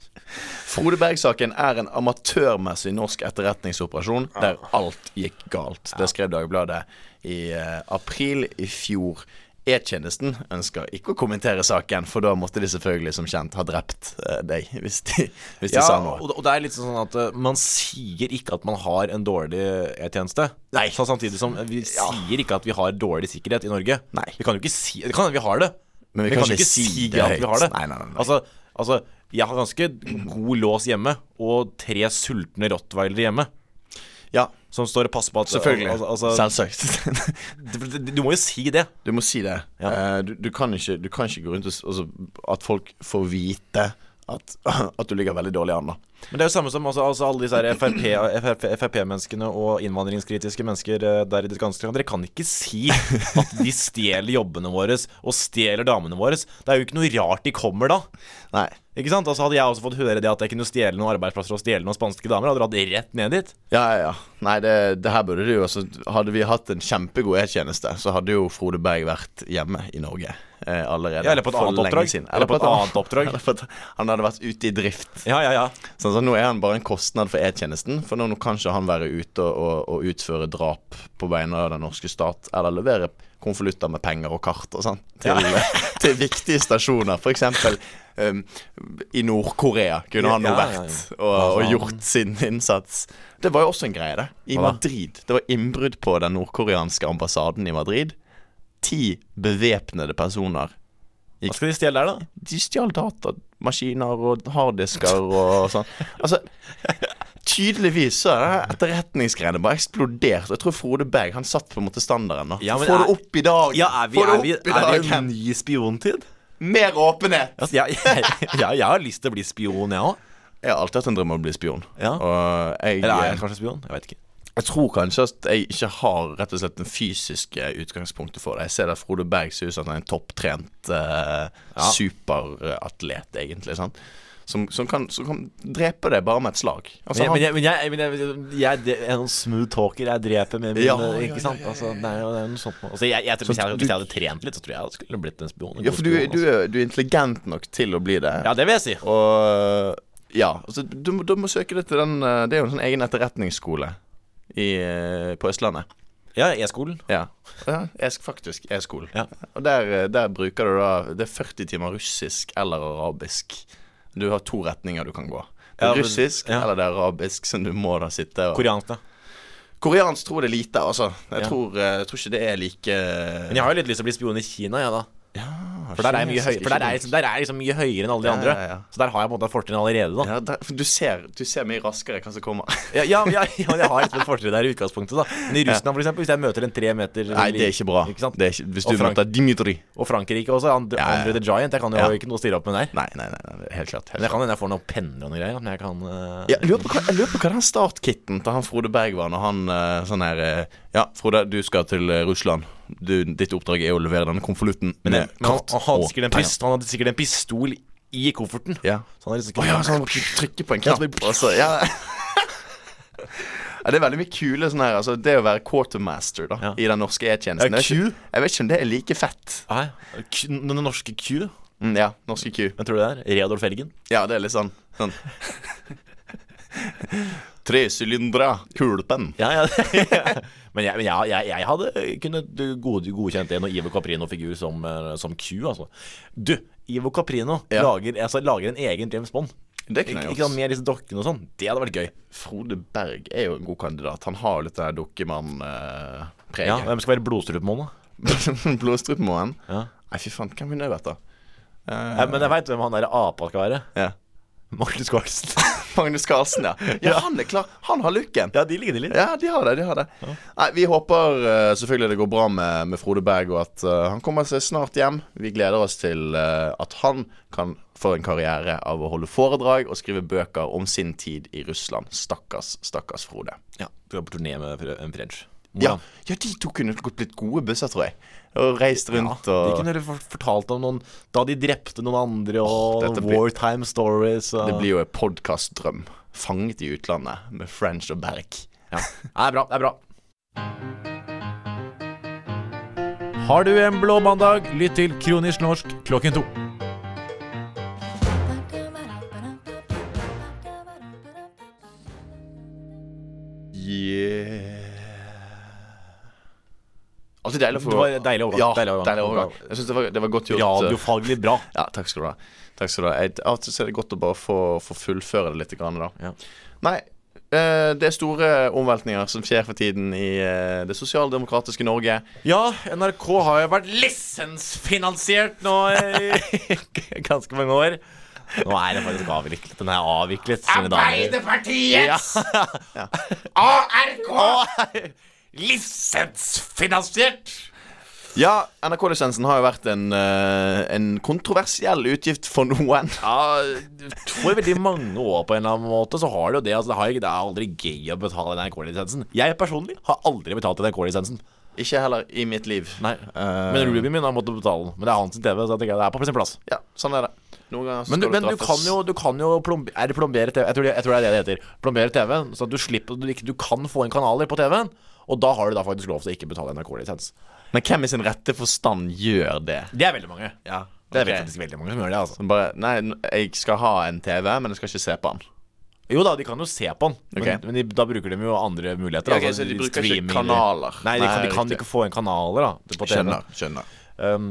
Speaker 2: Frode Berg-saken er en amatørmessig norsk etterretningsoperasjon der alt gikk galt. Det skrev Dagbladet i eh, april i fjor. E-tjenesten ønsker ikke å kommentere saken, for da måtte de selvfølgelig som kjent ha drept eh, deg hvis de, hvis de sa noe.
Speaker 3: og, og det er litt sånn at eh, man sier ikke at man har en dårlig e-tjeneste. Nei Så Samtidig som vi sier ikke at vi har dårlig sikkerhet i Norge.
Speaker 2: Nei.
Speaker 3: Vi kan jo ikke si Det kan hende vi har det,
Speaker 2: Men vi kan ikke si det
Speaker 3: at
Speaker 2: høyt.
Speaker 3: vi har det.
Speaker 2: Nei, nei, nei, nei.
Speaker 3: Altså, altså, jeg har ganske god lås hjemme, og tre sultne rottweilere hjemme.
Speaker 2: Ja,
Speaker 3: Som står og passer på at
Speaker 2: selvfølgelig.
Speaker 3: Altså, altså,
Speaker 2: Selvsagt.
Speaker 3: du- du- du må jo si det.
Speaker 2: Du må si det. Eh, du, du, kan ikke, du kan ikke gå rundt og s- altså, At folk får vite at, at du ligger veldig dårlig an, da.
Speaker 3: Men det er jo samme som altså, altså alle disse her FRP FRP Frp-menneskene og innvandringskritiske mennesker eh, der i det ganske land. Dere kan ikke si at de stjeler jobbene våre og stjeler damene våre. Det er jo ikke noe rart de kommer da.
Speaker 2: Nei.
Speaker 3: Ikke sant? Altså Hadde jeg også fått høre det at jeg kunne stjele noen arbeidsplasser og stjele noen spanske damer, hadde jeg dratt rett ned dit.
Speaker 2: Ja, ja, ja. Nei, det, det her burde det jo altså, Hadde vi hatt en kjempegod e-tjeneste, så hadde jo Frode Berg vært hjemme i Norge eh, allerede.
Speaker 3: Ja, eller på et
Speaker 2: for
Speaker 3: annet
Speaker 2: lenge
Speaker 3: oppdrag.
Speaker 2: siden.
Speaker 3: Eller på et annet oppdrag.
Speaker 2: Eller på et, han hadde vært ute i drift.
Speaker 3: Ja, ja, ja.
Speaker 2: Sånn, så nå er han bare en kostnad for e-tjenesten, for nå, nå kan ikke han være ute og, og, og utføre drap på vegne av den norske stat, eller levere konvolutter med penger og kart og sånn til, til viktige stasjoner, f.eks. Um, I Nord-Korea kunne han nå
Speaker 3: Ja, ja, ja.
Speaker 2: vært og, og gjort sin innsats. Det var jo også en greie, det. I Madrid. Det var innbrudd på den nordkoreanske ambassaden i Madrid. Ti bevæpnede personer
Speaker 3: Hva skal de stjele der, da?
Speaker 2: de stjal datamaskiner og harddisker og sånn. Altså, tydeligvis så er det etterretningsgreiene bare eksplodert. Jeg tror Frode Berg han satt på en måte standarden. da
Speaker 3: Ja, men
Speaker 2: Få
Speaker 3: er-
Speaker 2: det opp i dag!
Speaker 3: Ja, Er vi,
Speaker 2: Få det
Speaker 3: er vi,
Speaker 2: opp i
Speaker 3: er vi
Speaker 2: dag!
Speaker 3: i en ny spiontid?
Speaker 2: Mer åpenhet!
Speaker 3: Altså, jeg, jeg, jeg, jeg har lyst til å bli spion, jeg òg.
Speaker 2: Jeg har alltid hatt en drøm om å bli spion.
Speaker 3: Ja.
Speaker 2: Og jeg, eh,
Speaker 3: Eller er
Speaker 2: jeg,
Speaker 3: jeg kanskje spion? Jeg vet ikke.
Speaker 2: tror kanskje at jeg ikke har rett og slett den fysiske utgangspunktet for det. Jeg ser at Frode Berg ser ut som at han er en topptrent eh, superatlet, egentlig. Sant? Som, som, kan, som kan drepe deg bare med et slag. Altså,
Speaker 3: Men,
Speaker 2: han-
Speaker 3: men, jeg, men, jeg, men jeg, jeg, jeg er noen smooth talker jeg dreper med min
Speaker 2: Ja, ja,
Speaker 3: Ikke sant? Altså, det er jo det er noe sånt nå. altså, jeg, jeg, tror hvis, jeg, hvis jeg hadde trent litt, så tror jeg jeg skulle blitt en spion. en
Speaker 2: Ja,
Speaker 3: god
Speaker 2: for du,
Speaker 3: spion,
Speaker 2: du,
Speaker 3: altså.
Speaker 2: er, du er intelligent nok til å bli det.
Speaker 3: Ja, det vil jeg si.
Speaker 2: Og ja, altså, du, må- du må søke det til den eh, Det er jo en sånn egen etterretningsskole i, eh, på Østlandet.
Speaker 3: Ja, E-skolen.
Speaker 2: Ja. ja jeg, sk- faktisk e-skole.
Speaker 3: Ja.
Speaker 2: Og der, eh, der bruker du da Det er 40 timer russisk eller arabisk. Du har to retninger du kan gå. Det
Speaker 3: Ja,
Speaker 2: er
Speaker 3: men-
Speaker 2: russisk
Speaker 3: ja.
Speaker 2: eller det er arabisk, som du må da sitte og
Speaker 3: Koreansk, da.
Speaker 2: Koreansk tror det er lite, altså. Jeg,
Speaker 3: Ja.
Speaker 2: tror, eh, jeg tror ikke det er like
Speaker 3: Men jeg har jo litt lyst til å bli spion i Kina, jeg, da. For der er jeg mye, høy,
Speaker 2: kinesisk,
Speaker 3: for der er,
Speaker 2: ikke
Speaker 3: jeg liksom, der er jeg liksom mye høyere enn alle de
Speaker 2: Ja,
Speaker 3: andre.
Speaker 2: ja, ja.
Speaker 3: Så der har jeg på en måte et fortrinn allerede, da.
Speaker 2: ja, der, for du, ser, du ser mye raskere hva som kommer.
Speaker 3: Ja, ja, ja, ja men jeg har liksom et fortrinn der i utgangspunktet, da. Men i Russland, for eksempel, hvis jeg møter en tre meter
Speaker 2: Nei, det er ikke bra.
Speaker 3: Ikke sant?
Speaker 2: Det er ikke, hvis
Speaker 3: Og
Speaker 2: du
Speaker 3: Frank-
Speaker 2: møter Dimitri
Speaker 3: Og Frankrike også. Andre,
Speaker 2: Ja, ja, ja.
Speaker 3: Andre the Giant. Jeg kan jo
Speaker 2: Ja.
Speaker 3: ikke noe å stirre opp med der.
Speaker 2: Nei, nei, nei, nei det er helt klart.
Speaker 3: Men
Speaker 2: Helt
Speaker 3: jeg
Speaker 2: klart.
Speaker 3: kan hende jeg får noen penner og noen greier. Men jeg kan eh,
Speaker 2: Ja, jeg, lurer på hva, jeg lurer på hva den startkitten til han Frode Berg var når han eh, sånn her eh, Ja, Frode, du skal til eh, Russland. Du, ditt oppdrag er å levere denne konvolutten
Speaker 3: Men,
Speaker 2: med
Speaker 3: men han,
Speaker 2: kart
Speaker 3: han, hadde sikkert en
Speaker 2: penger.
Speaker 3: pist, han hadde sikkert en pistol i kofferten.
Speaker 2: Ja.
Speaker 3: Så han hadde
Speaker 2: Å
Speaker 3: liksom
Speaker 2: ja, så han måtte trykke på en knapp. og så- ja. Ja, det er veldig mye kule sånn her. Altså, det å være quartermaster da
Speaker 3: Ja.
Speaker 2: i den norske
Speaker 3: Ja,
Speaker 2: E-tjenesten Jeg vet
Speaker 3: sånn Q.
Speaker 2: ikke- jeg vet ikke om det er like fett.
Speaker 3: Nei, Q- Den norske Q,
Speaker 2: Mm, ja, norske Q.
Speaker 3: hvem tror du det er? Reodolf Helgen?
Speaker 2: Ja, det er litt sånn, sånn. Tresylindra, kulpen.
Speaker 3: Ja, ja. men jeg, men jeg, jeg, jeg hadde kunnet god, godkjent en og Ivo Caprino-figur som, eh, som Q, altså. Du, Ivo Caprino
Speaker 2: Ja.
Speaker 3: lager, altså, lager en egen James Bond.
Speaker 2: Det
Speaker 3: Ikke,
Speaker 2: kunne jeg
Speaker 3: ikke sant,
Speaker 2: gjort.
Speaker 3: Med disse dokkene og sånn. Det hadde vært gøy.
Speaker 2: Frode Berg er jo en god kandidat. Han har jo litt det der dukkemann-preget.
Speaker 3: Ja, Hvem skal være blodstrupemål, da?
Speaker 2: Blodstrupemoen.
Speaker 3: Ja.
Speaker 2: Nei, fy faen, hvem kunne det vært, da? Eh,
Speaker 3: Nei, men jeg veit hvem han der apa skal være.
Speaker 2: ja.
Speaker 3: Magnus Carlsen.
Speaker 2: Magnus Carlsen, ja. Ja, han er klar. Han har looken.
Speaker 3: ja, de ligner litt.
Speaker 2: Ja, de har det. de har det Nei, Vi håper eh, selvfølgelig det går bra med, med Frode Berg, og at eh, han kommer seg snart hjem. Vi gleder oss til eh, at han kan få en karriere av å holde foredrag og skrive bøker om sin tid i Russland. Stakkars, stakkars Frode.
Speaker 3: Ja, Skal på turné med fr- en French.
Speaker 2: Ja, ja de to kunne godt blitt gode busser, tror jeg. Og reist rundt
Speaker 3: Ja, De
Speaker 2: og
Speaker 3: kunne for- fortalt om noen Da de drepte noen andre og
Speaker 2: dette blir-
Speaker 3: wartime stories og
Speaker 2: Det blir jo en podkastdrøm. Fanget i utlandet med French og Berg.
Speaker 3: ja. Det er bra. det er bra
Speaker 1: Har du en blå mandag, lytt til Kronisk norsk klokken to.
Speaker 2: Yeah. Alltid deilig å få
Speaker 3: Det var deilig overgang.
Speaker 2: Ja,
Speaker 3: deilig overgang.
Speaker 2: Jeg synes det, var, det var godt gjort. eh,
Speaker 3: Radiofaglig bra.
Speaker 2: Ja, takk skal du ha. Takk skal du ha. Jeg, av og til så er det godt å bare få, få fullføre det litt, grann, da.
Speaker 3: Ja.
Speaker 2: Nei, eh, det er store omveltninger som skjer for tiden i eh, det sosialdemokratiske Norge.
Speaker 3: Ja, NRK har jo vært lisensfinansiert nå i ganske mange år. Nå er det faktisk avviklet. Den er avviklet. mine damer.
Speaker 1: Arbeiderpartiets
Speaker 2: Ja.
Speaker 1: ARK! Lisensfinansiert!
Speaker 2: Ja, NRK-lisensen har jo vært en, eh, en kontroversiell utgift for noen.
Speaker 3: Ja, for veldig mange år på en eller annen måte så har det jo det. Altså, det, har ikke, det er aldri gøy å betale NRK-lisensen. Jeg personlig har aldri betalt NRK-lisensen.
Speaker 2: Ikke heller i mitt liv.
Speaker 3: Nei Men Ruby min har måttet betale den. Men det er hans TV, så jeg tenker det er på sin plass.
Speaker 2: Ja, sånn er det. Noen ganger så
Speaker 3: Men du,
Speaker 2: skal
Speaker 3: men du
Speaker 2: treffes.
Speaker 3: kan jo, du kan jo plombe, Er det plombere TV? Jeg tror, det, jeg tror det er det det heter. Plombere TV, så at du slipper du, ikke- du kan få inn kanaler på TV-en. Og da har du da faktisk lov til å ikke betale NRK-lisens.
Speaker 2: Men hvem i sin rette forstand gjør det?
Speaker 3: Det er veldig mange.
Speaker 2: Ja,
Speaker 3: Det er faktisk veldig mange som gjør det. altså
Speaker 2: Bare, nei, n- jeg skal ha en TV, men jeg skal ikke se på den.
Speaker 3: Jo da, de kan jo se på den, men,
Speaker 2: Ok.
Speaker 3: men de, da bruker de jo andre muligheter.
Speaker 2: Ja, ok,
Speaker 3: altså,
Speaker 2: så de bruker ikke
Speaker 3: streaming-
Speaker 2: kanaler.
Speaker 3: Nei, de kan,
Speaker 2: Nei,
Speaker 3: de kan
Speaker 2: riktig.
Speaker 3: ikke få inn kanaler da på TV-en.
Speaker 2: Skjønner. skjønner
Speaker 3: Um,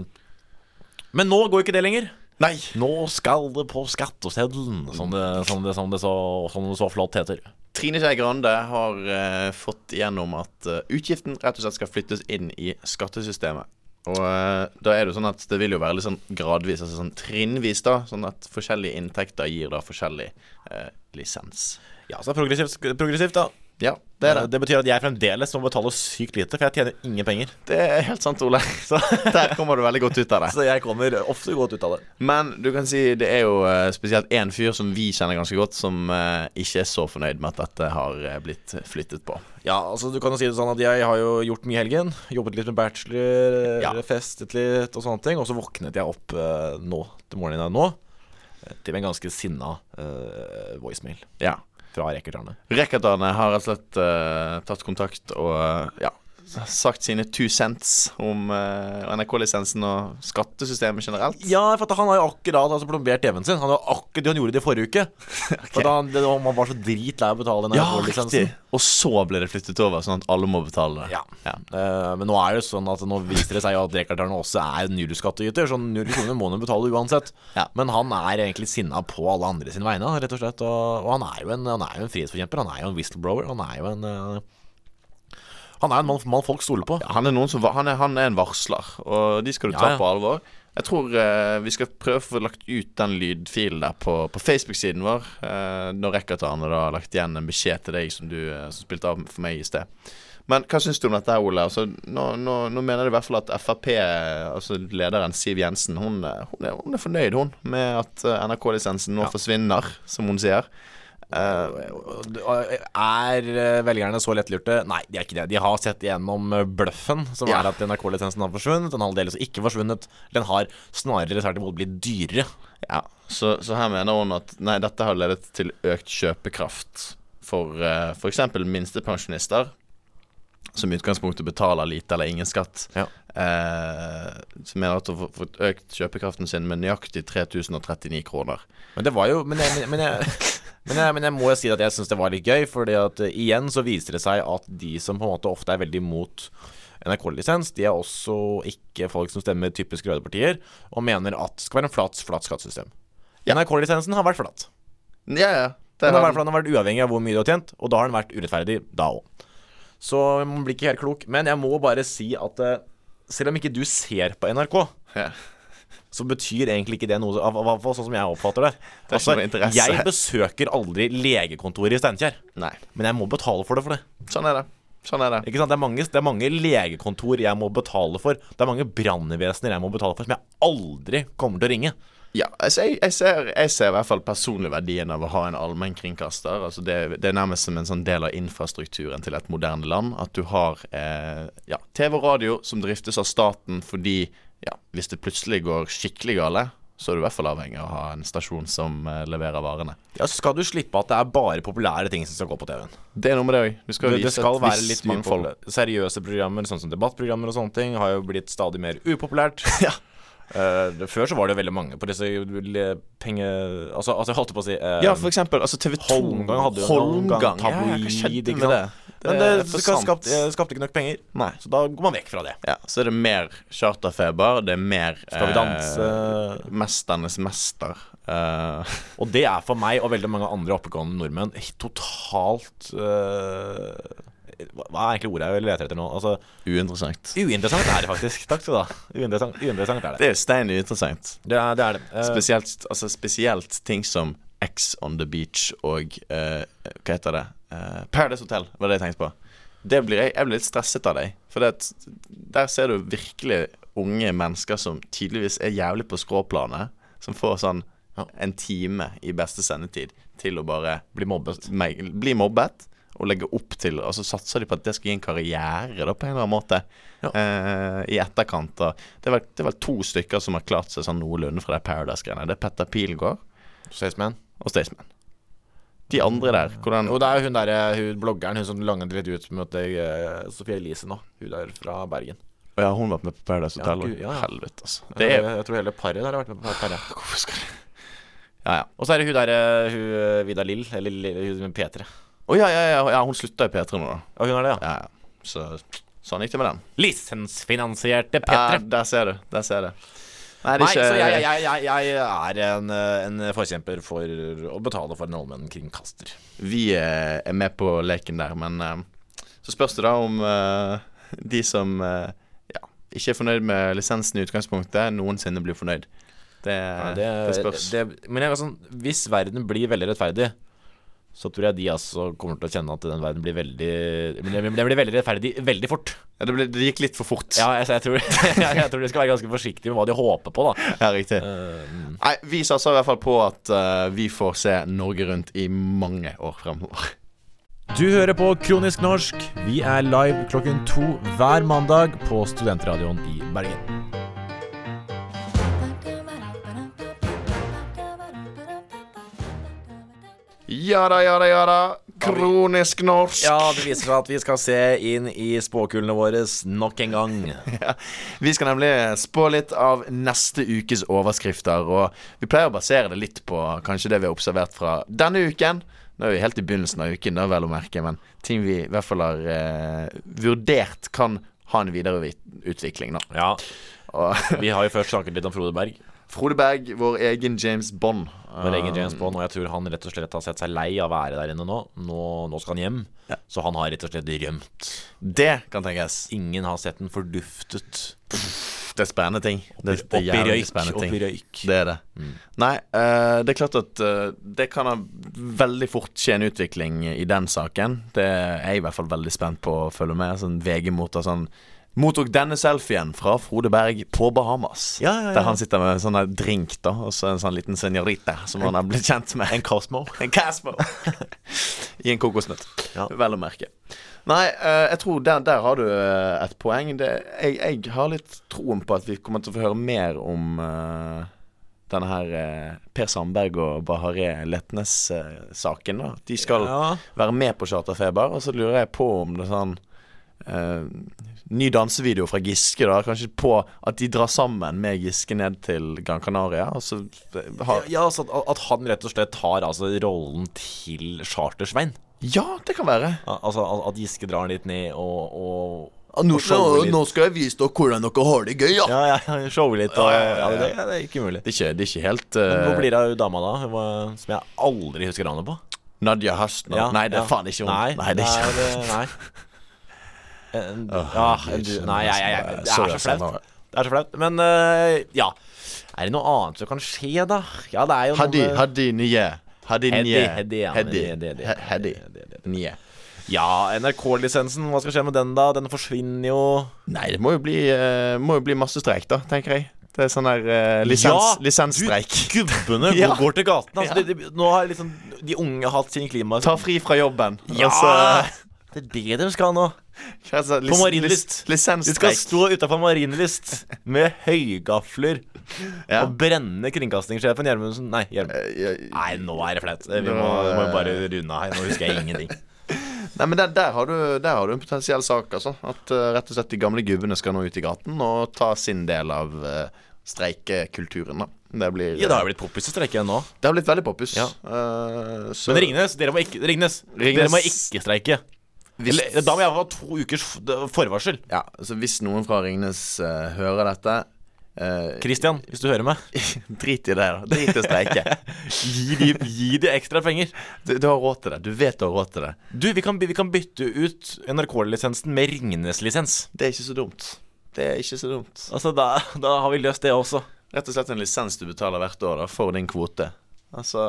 Speaker 3: men nå går ikke det lenger.
Speaker 2: Nei!
Speaker 3: Nå skal det på skatteseddelen, som det, som det, som det, så, som det så flott heter.
Speaker 2: Trine Skei Grande har eh, fått igjennom at eh, utgiften rett og slett skal flyttes inn i skattesystemet. Og eh, da er det jo sånn at det vil jo være litt sånn gradvis, altså sånn trinnvis, da. Sånn at forskjellige inntekter gir da forskjellig eh, lisens.
Speaker 3: Ja, så det er progressivt, progressivt da.
Speaker 2: Ja, det er
Speaker 3: Eh,
Speaker 2: det.
Speaker 3: Det betyr at jeg fremdeles må betale sykt lite, for jeg tjener ingen penger.
Speaker 2: Det er helt sant, Ole. Så der kommer du veldig godt ut av det.
Speaker 3: Så jeg kommer ofte godt ut av det.
Speaker 2: Men du kan si det er jo eh, spesielt én fyr som vi kjenner ganske godt, som eh, ikke er så fornøyd med at dette har eh, blitt flyttet på.
Speaker 3: Ja, altså du kan jo si det sånn at jeg har jo gjort mye i helgen. Jobbet litt med bachelor,
Speaker 2: Ja.
Speaker 3: festet litt og sånne ting. Og så våknet jeg opp eh, nå, til morgenen her nå, eh, til en ganske sinna eh, voicemail
Speaker 2: Ja.
Speaker 3: fra Rekkertarne.
Speaker 2: Rekkertane har rett og slett eh, tatt kontakt og eh, ja, sagt sine two cents om eh, NRK-lisensen og skattesystemet generelt.
Speaker 3: Ja, for at han har jo akkurat altså, plombert TV-en sin. Han har akkurat det han gjorde det i forrige uke. For da han, det, han var så dritlei av å betale den
Speaker 2: Ja,
Speaker 3: NRK-lisensen.
Speaker 2: riktig. Og så ble det flyttet over, sånn at alle må betale det.
Speaker 3: Ja. Eh, men nå er det jo sånn at nå viser det seg jo at Rekarterne også er nullskatteyter, så null kroner må han betale uansett.
Speaker 2: Ja.
Speaker 3: Men han er egentlig sinna på alle andre sine vegne, rett og slett. Og, og han, er jo en, han er jo en frihetsforkjemper, han er jo en whistleblower, han er jo en eh, Han er en mann, mann folk stoler på.
Speaker 2: Ja, han, er noen som, va- han, er, han er en varsler, og de skal du
Speaker 3: Ja,
Speaker 2: ta
Speaker 3: ja.
Speaker 2: på alvor. Jeg tror eh, vi skal prøve å få lagt ut den lydfilen der på, på Facebook-siden vår. eh, når Rekkertane da har lagt igjen en beskjed til deg som du eh, som spilte av for meg i sted. Men hva syns du om dette, her, Ole? Altså, nå, nå, nå mener de i hvert fall at Frp, altså lederen Siv Jensen, hun, eh, hun, er, hun er fornøyd, hun, med at eh, NRK-lisensen nå forsvinner, som hun sier. Eh,
Speaker 3: Og- og- Er eh, velgerne så lettlurte? Nei, de er ikke det. De har sett gjennom eh, bløffen, som
Speaker 2: Ja.
Speaker 3: er at NRK-lisensen har forsvunnet. Den har aldeles ikke forsvunnet. Den har snarere tvert imot blitt dyrere.
Speaker 2: Ja, så, så her mener hun at Nei, dette har ledet til økt kjøpekraft For eh, for eksempel minstepensjonister Som i utgangspunktet betaler lite eller ingen skatt
Speaker 3: Ja.
Speaker 2: eh, Som mener at hun har fått økt kjøpekraften sin Med nøyaktig 3039 kroner
Speaker 3: Men det var jo Men jeg, men, men jeg, men jeg, men jeg må jo si at jeg syns det var litt gøy, fordi at eh, igjen så viser det seg at de som på en måte ofte er veldig imot NRK-lisens, de er også ikke folk som stemmer typisk røde partier, og mener at det skal være en flat, flat skattesystem. NRK-lisensen har vært flat.
Speaker 2: Ja, ja det
Speaker 3: Den har,
Speaker 2: har
Speaker 3: vært, flat, den har vært uavhengig av hvor mye du har tjent, og da har den vært urettferdig, da òg. Så man blir ikke helt klok. Men jeg må bare si at eh, selv om ikke du ser på NRK,
Speaker 2: Ja.
Speaker 3: så betyr egentlig ikke det noe av- av- av- sånn som jeg oppfatter det. Altså,
Speaker 2: er ikke noe interesse.
Speaker 3: jeg besøker aldri legekontoret i Steinkjer,
Speaker 2: Nei.
Speaker 3: men jeg må betale for det for det.
Speaker 2: Sånn er det. Sånn er det.
Speaker 3: Ikke sant? Det, er mange, det er mange legekontor jeg må betale for. Det er mange brannvesener jeg må betale for, som jeg aldri kommer til å ringe.
Speaker 2: Ja, altså jeg, jeg, ser, jeg ser i hvert fall personlig verdien av å ha en allmennkringkaster. Altså det, det er nærmest som en sånn del av infrastrukturen til et moderne land. At du har eh, ja, TV og radio som driftes av staten fordi ja, hvis det plutselig går skikkelig gale, så er du i hvert fall avhengig av å ha en stasjon som eh, leverer varene.
Speaker 3: Ja, så skal du slippe at det er bare populære ting som skal gå på TV-en.
Speaker 2: Det er noe med det òg. Du skal
Speaker 3: Det,
Speaker 2: vise
Speaker 3: det skal
Speaker 2: et
Speaker 3: være
Speaker 2: visst
Speaker 3: litt
Speaker 2: mangfold.
Speaker 3: upopulære. Seriøse programmer, sånn som debattprogrammer og sånne ting, har jo blitt stadig mer upopulært. Eh, det- før så var det veldig mange på disse le- penge... Altså, altså jeg holdt på å si eh,
Speaker 2: Ja, for eksempel altså TV2
Speaker 3: Holmgang hadde jo en Holmgang
Speaker 2: Holmgang, ja, hva skjedde
Speaker 3: tabloid, ikke
Speaker 2: med det?
Speaker 3: sant? Men det,
Speaker 2: er
Speaker 3: det,
Speaker 2: for
Speaker 3: skal-
Speaker 2: sant.
Speaker 3: skapte, eh, skapte ikke nok penger,
Speaker 2: Nei.
Speaker 3: så da går man vekk fra det.
Speaker 2: Ja, så er det mer charterfeber, det er mer
Speaker 3: Skal vi danse?
Speaker 2: Eh, mesternes mester. Eh,
Speaker 3: Og det er for meg og veldig mange andre oppegående nordmenn totalt eh, hva- Hva er egentlig ordet jeg leter etter nå? Altså,
Speaker 2: uinteressant.
Speaker 3: uinteressant er det faktisk. Takk skal du ha. Uinteressant, uinteressant er det.
Speaker 2: Det er stein uinteressant.
Speaker 3: Det er det. Er det. Eh,
Speaker 2: Spesielt, altså, spesielt ting som X on the beach og eh, Hva heter det? Eh, Paradise Hotel var det jeg tenkte på. Det blir jeg, jeg blir litt stresset av deg. For det, at der ser du virkelig unge mennesker som tydeligvis er jævlig på skråplanet. Som får sånn en time i beste sendetid til å bare
Speaker 3: blir mobbet.
Speaker 2: meg, bli mobbet og legge opp til Og så satser de på at det skal gi en karriere da, på en eller annen måte eh, i etterkant. Da. Det, er vel, det er vel to stykker som har klart seg sånn noenlunde fra de Paradise-greiene. Det er Petter Pilgaard
Speaker 3: Ses med en.
Speaker 2: og Staysman. De andre der, hvordan
Speaker 3: Og det er hun der, eh, hun bloggeren hun som langet litt ut med at jeg, eh, Sofie Elise nå. Hun der fra Bergen.
Speaker 2: Å Ja, hun var med på Paradise Hotel.
Speaker 3: gud,
Speaker 2: og
Speaker 3: ja, ja.
Speaker 2: Helvete, altså. Det er
Speaker 3: jeg, jeg tror hele paret der har vært med på paret.
Speaker 2: Hvorfor skal jeg Ja, ja.
Speaker 3: Og så er det hun der, eh, hun eh, Vida Lill, eller Lill- hun P3.
Speaker 2: Å ja, ja, ja, ja, hun slutta i P3 nå, da.
Speaker 3: Ja, hun er det, ja.
Speaker 2: Ja, ja. Så sånn gikk det med den.
Speaker 3: Lisensfinansierte
Speaker 2: Ja,
Speaker 3: P3.
Speaker 2: der ser du. Der ser du. Nei, det
Speaker 3: Nei,
Speaker 2: er ikke
Speaker 3: så jeg, jeg, jeg, jeg er en, eh, en forkjemper for å betale for en allmennkringkaster.
Speaker 2: Vi eh, er med på leken der, men eh, så spørs det da om eh, de som eh, ja, ikke er fornøyd med lisensen i utgangspunktet, noensinne blir fornøyd. Det, det, spørs.
Speaker 3: det- men jeg, er sånn, hvis verden blir veldig rettferdig, så tror jeg de altså kommer til å kjenne at den verden blir veldig men Den den blir veldig rettferdig veldig fort.
Speaker 2: ja, det, ble, det gikk litt for fort.
Speaker 3: Ja, jeg, jeg, tror, jeg, jeg tror de skal være ganske forsiktige med hva de håper på, da.
Speaker 2: Ja, riktig.
Speaker 3: Eh,
Speaker 2: Nei, vi satser i hvert fall på at eh, vi får se Norge rundt i mange år fremover.
Speaker 1: Du hører på Kronisk norsk. Vi er live klokken to hver mandag på Studentradioen i Bergen.
Speaker 2: Ja da, ja da, ja da. Kronisk norsk.
Speaker 3: Ja, det viser seg at vi skal se inn i spåkulene våre nok en gang.
Speaker 2: Vi skal nemlig spå litt av neste ukes overskrifter. Og vi pleier å basere det litt på kanskje det vi har observert fra denne uken. Nå er vi helt i begynnelsen av uken, da, vel å merke, men ting vi i hvert fall har eh, vurdert kan ha en videre vi- utvikling, da.
Speaker 3: Ja,
Speaker 2: Og
Speaker 3: vi har jo først snakket litt om Frode Berg.
Speaker 2: Frode Berg, vår egen James Bond. Eh,
Speaker 3: Vår egen James Bond, og jeg tror han rett og slett har sett seg lei av å være der inne nå. Nå, nå skal han hjem. Så han har rett og slett rømt.
Speaker 2: Det kan tenkes.
Speaker 3: Ingen har sett den forduftet.
Speaker 2: Det er spennende ting. Det, det
Speaker 3: Opp
Speaker 2: er
Speaker 3: i
Speaker 2: jævlig
Speaker 3: røyk,
Speaker 2: spennende
Speaker 3: opp i
Speaker 2: ting.
Speaker 3: røyk.
Speaker 2: Det er det. Nei, eh, det er klart at eh, det kan ha veldig fort skje en utvikling i den saken. Det er jeg i hvert fall veldig spent på å følge med. Sånn VG mottar sånn Mottok denne selfien fra Frode Berg på Bahamas.
Speaker 3: Ja, ja, ja.
Speaker 2: Der han sitter med en sånn her drink da og så en sånn liten senorita som han har blitt kjent med. En Cosmo. En Casmo I en kokosnøtt.
Speaker 3: Ja.
Speaker 2: Vel å merke. Nei, eh, jeg tror der, der har du eh, et poeng. Det, jeg, jeg har litt troen på at vi kommer til å få høre mer om eh, denne her eh, Per Sandberg og Bahareh Letnes-saken. da De skal
Speaker 3: Ja.
Speaker 2: være med på Charterfeber, og så lurer jeg på om det er sånn eh, Ny dansevideo fra Giske, da. Kanskje på at de drar sammen med Giske ned til Gran Canaria. Og så eh, har,
Speaker 3: Ja, altså at, at han rett og slett tar altså rollen til Chartersvein.
Speaker 2: ja, det kan være.
Speaker 3: Al- Altså at- at Giske drar han litt ned og, og
Speaker 2: Nå,
Speaker 3: Og showe litt.
Speaker 2: skal jeg vise dere hvordan dere har det gøy,
Speaker 3: Ja, ja, ja, showe litt. Og,
Speaker 2: Ja, ja, ja, ja.
Speaker 3: det, det er ikke umulig.
Speaker 2: Det er ikke, det er ikke helt
Speaker 3: Hvor
Speaker 2: eh,
Speaker 3: blir det av dama da? Hun var- Som jeg aldri husker navnet på.
Speaker 2: Nadia Hastner.
Speaker 3: Ja,
Speaker 2: nei, det er
Speaker 3: ja.
Speaker 2: faen ikke hun.
Speaker 3: Nei,
Speaker 2: det er ikke
Speaker 3: det- nei. En- ja,
Speaker 2: herregud,
Speaker 3: du- nei, jeg, jeg, jeg, det er
Speaker 2: sorry,
Speaker 3: så
Speaker 2: altså,
Speaker 3: flaut.
Speaker 2: nå-
Speaker 3: Det er så flaut. Men eh, ja. Er det noe annet som kan skje, da? Ja, det er jo eh,
Speaker 2: Haddy,
Speaker 3: noe med-
Speaker 2: Haddy Nye. Haddy
Speaker 3: Heddy,
Speaker 2: Nye.
Speaker 3: Heddy, ja, men
Speaker 2: Heddy.
Speaker 3: det- det- det-
Speaker 2: He- Heddy.
Speaker 3: det- det- det-
Speaker 2: Nye.
Speaker 3: Ja, NRK-lisensen, hva skal skje med den, da? Den forsvinner jo.
Speaker 2: Nei, det må jo bli, eh, må jo bli masse streik, da, tenker jeg. Det er sånn der eh, lisens,
Speaker 3: Ja,
Speaker 2: lisensstreik.
Speaker 3: Gubbene
Speaker 2: Ja.
Speaker 3: går til gaten. Altså,
Speaker 2: Ja.
Speaker 3: de, de, nå har liksom de unge hatt sin klima...
Speaker 2: Ta fri fra jobben.
Speaker 3: ja!
Speaker 2: Altså,
Speaker 3: Det er det de skal nå.
Speaker 2: hva er det sånn,
Speaker 3: På
Speaker 2: lis-
Speaker 3: Marienlyst.
Speaker 2: lis-
Speaker 3: De skal
Speaker 2: Lisensstreik.
Speaker 3: stå utafor Marienlyst med høygafler
Speaker 2: Ja.
Speaker 3: og brenne kringkastingssjefen Gjermundsen. Nei, Gjermund.
Speaker 2: Nei,
Speaker 3: Nei, Eh, nå er det flaut. Vi må,
Speaker 2: Nå-
Speaker 3: må bare runde av her. Nå husker jeg ingenting.
Speaker 2: men der, der, har du, der har du en potensiell sak, altså. At eh, rett og slett de gamle gubbene skal nå ut i gaten og ta sin del av eh, streikekulturen, da. Det blir
Speaker 3: Ja, det har jo blitt poppis å streike igjen nå.
Speaker 2: det har blitt veldig poppis.
Speaker 3: Ja.
Speaker 2: Eh, så-
Speaker 3: Men Ringnes, dere må ikke, Ringnes,
Speaker 2: Ringnes.
Speaker 3: Dere må ikke streike.
Speaker 2: Hvis-
Speaker 3: Eller, da må jeg ha to ukers f- forvarsel.
Speaker 2: Ja, så hvis noen fra Ringnes eh, hører dette eh,
Speaker 3: Christian, hvis du hører meg,
Speaker 2: Drit i det, da. Drit i å streike.
Speaker 3: gi de, gi de ekstra penger.
Speaker 2: Du, du har råd til det. Du vet du har råd til det.
Speaker 3: Du, vi kan, by- vi kan bytte ut NRK-lisensen med Ringnes-lisens.
Speaker 2: Det er ikke så dumt. Det er ikke så dumt.
Speaker 3: Altså, da, da har vi løst det også.
Speaker 2: Rett og slett en lisens du betaler hvert år da, for din kvote. Altså,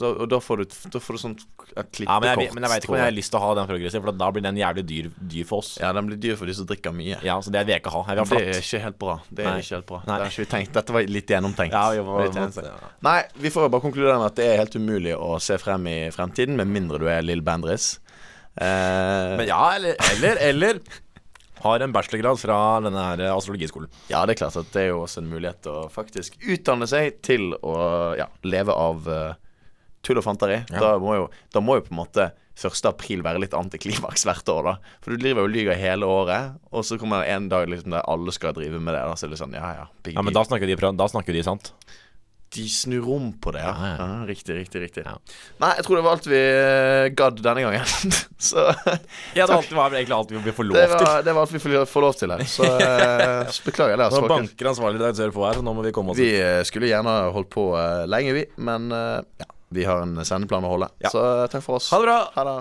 Speaker 2: da, og da får du, da får du sånt et klippekort.
Speaker 3: Ja, men jeg, men jeg vet ikke om
Speaker 2: tror
Speaker 3: jeg har lyst til å ha den progressive, for da blir den jævlig dyr, dyr for oss. Ja.
Speaker 2: Ja, den blir dyr for de som drikker mye.
Speaker 3: Så det vil jeg ikke ha. Jeg vil ha
Speaker 2: Det er
Speaker 3: flatt.
Speaker 2: ikke helt bra. Det er
Speaker 3: Nei.
Speaker 2: ikke helt bra.
Speaker 3: Nei.
Speaker 2: Det har ikke vi tenkt. Dette var litt gjennomtenkt.
Speaker 3: Ja, vi må-
Speaker 2: Litt
Speaker 3: må-
Speaker 2: gjennomtenkt.
Speaker 3: ja.
Speaker 2: Nei, vi får jo bare konkludere med at det er helt umulig å se frem i fremtiden, med mindre du er Lill Bendriss. Eh,
Speaker 3: Men ja, eller, eller, eller har en bachelorgrad fra denne her eh, astrologiskolen.
Speaker 2: ja, det er klart at det er jo også en mulighet til å faktisk utdanne seg til å ja, leve av eh, tull og fanteri. Da, må jo, da må jo på en måte 1. april være litt antiklimaks hvert år, da. For du driver jo og lyver hele året, og så kommer det en dag liksom der alle skal drive med det. Da, så er det sånn, ja, ja, big
Speaker 3: Ja, men
Speaker 2: deal.
Speaker 3: da snakker de, pra- da snakker de sant.
Speaker 2: De snur om på det, ja.
Speaker 3: Ja, ja.
Speaker 2: Ja, riktig, riktig. riktig
Speaker 3: Ja.
Speaker 2: Nei, jeg tror det var alt vi eh, gadd denne gangen. så
Speaker 3: Ja, det var alt- det var egentlig alt vi får lov
Speaker 2: det
Speaker 3: til.
Speaker 2: var, det var alt vi får får lov til her. Så, eh, så beklager jeg det. Altså,
Speaker 3: Nå
Speaker 2: folkens.
Speaker 3: banker ansvarlig redaktør på her, så nå må vi komme oss
Speaker 2: Vi eh, skulle gjerne holdt på eh, lenge, vi. Men eh, ja, vi har en sendeplan å holde.
Speaker 3: Ja.
Speaker 2: Så eh, takk for oss.
Speaker 3: Ha det bra!
Speaker 2: Ha det.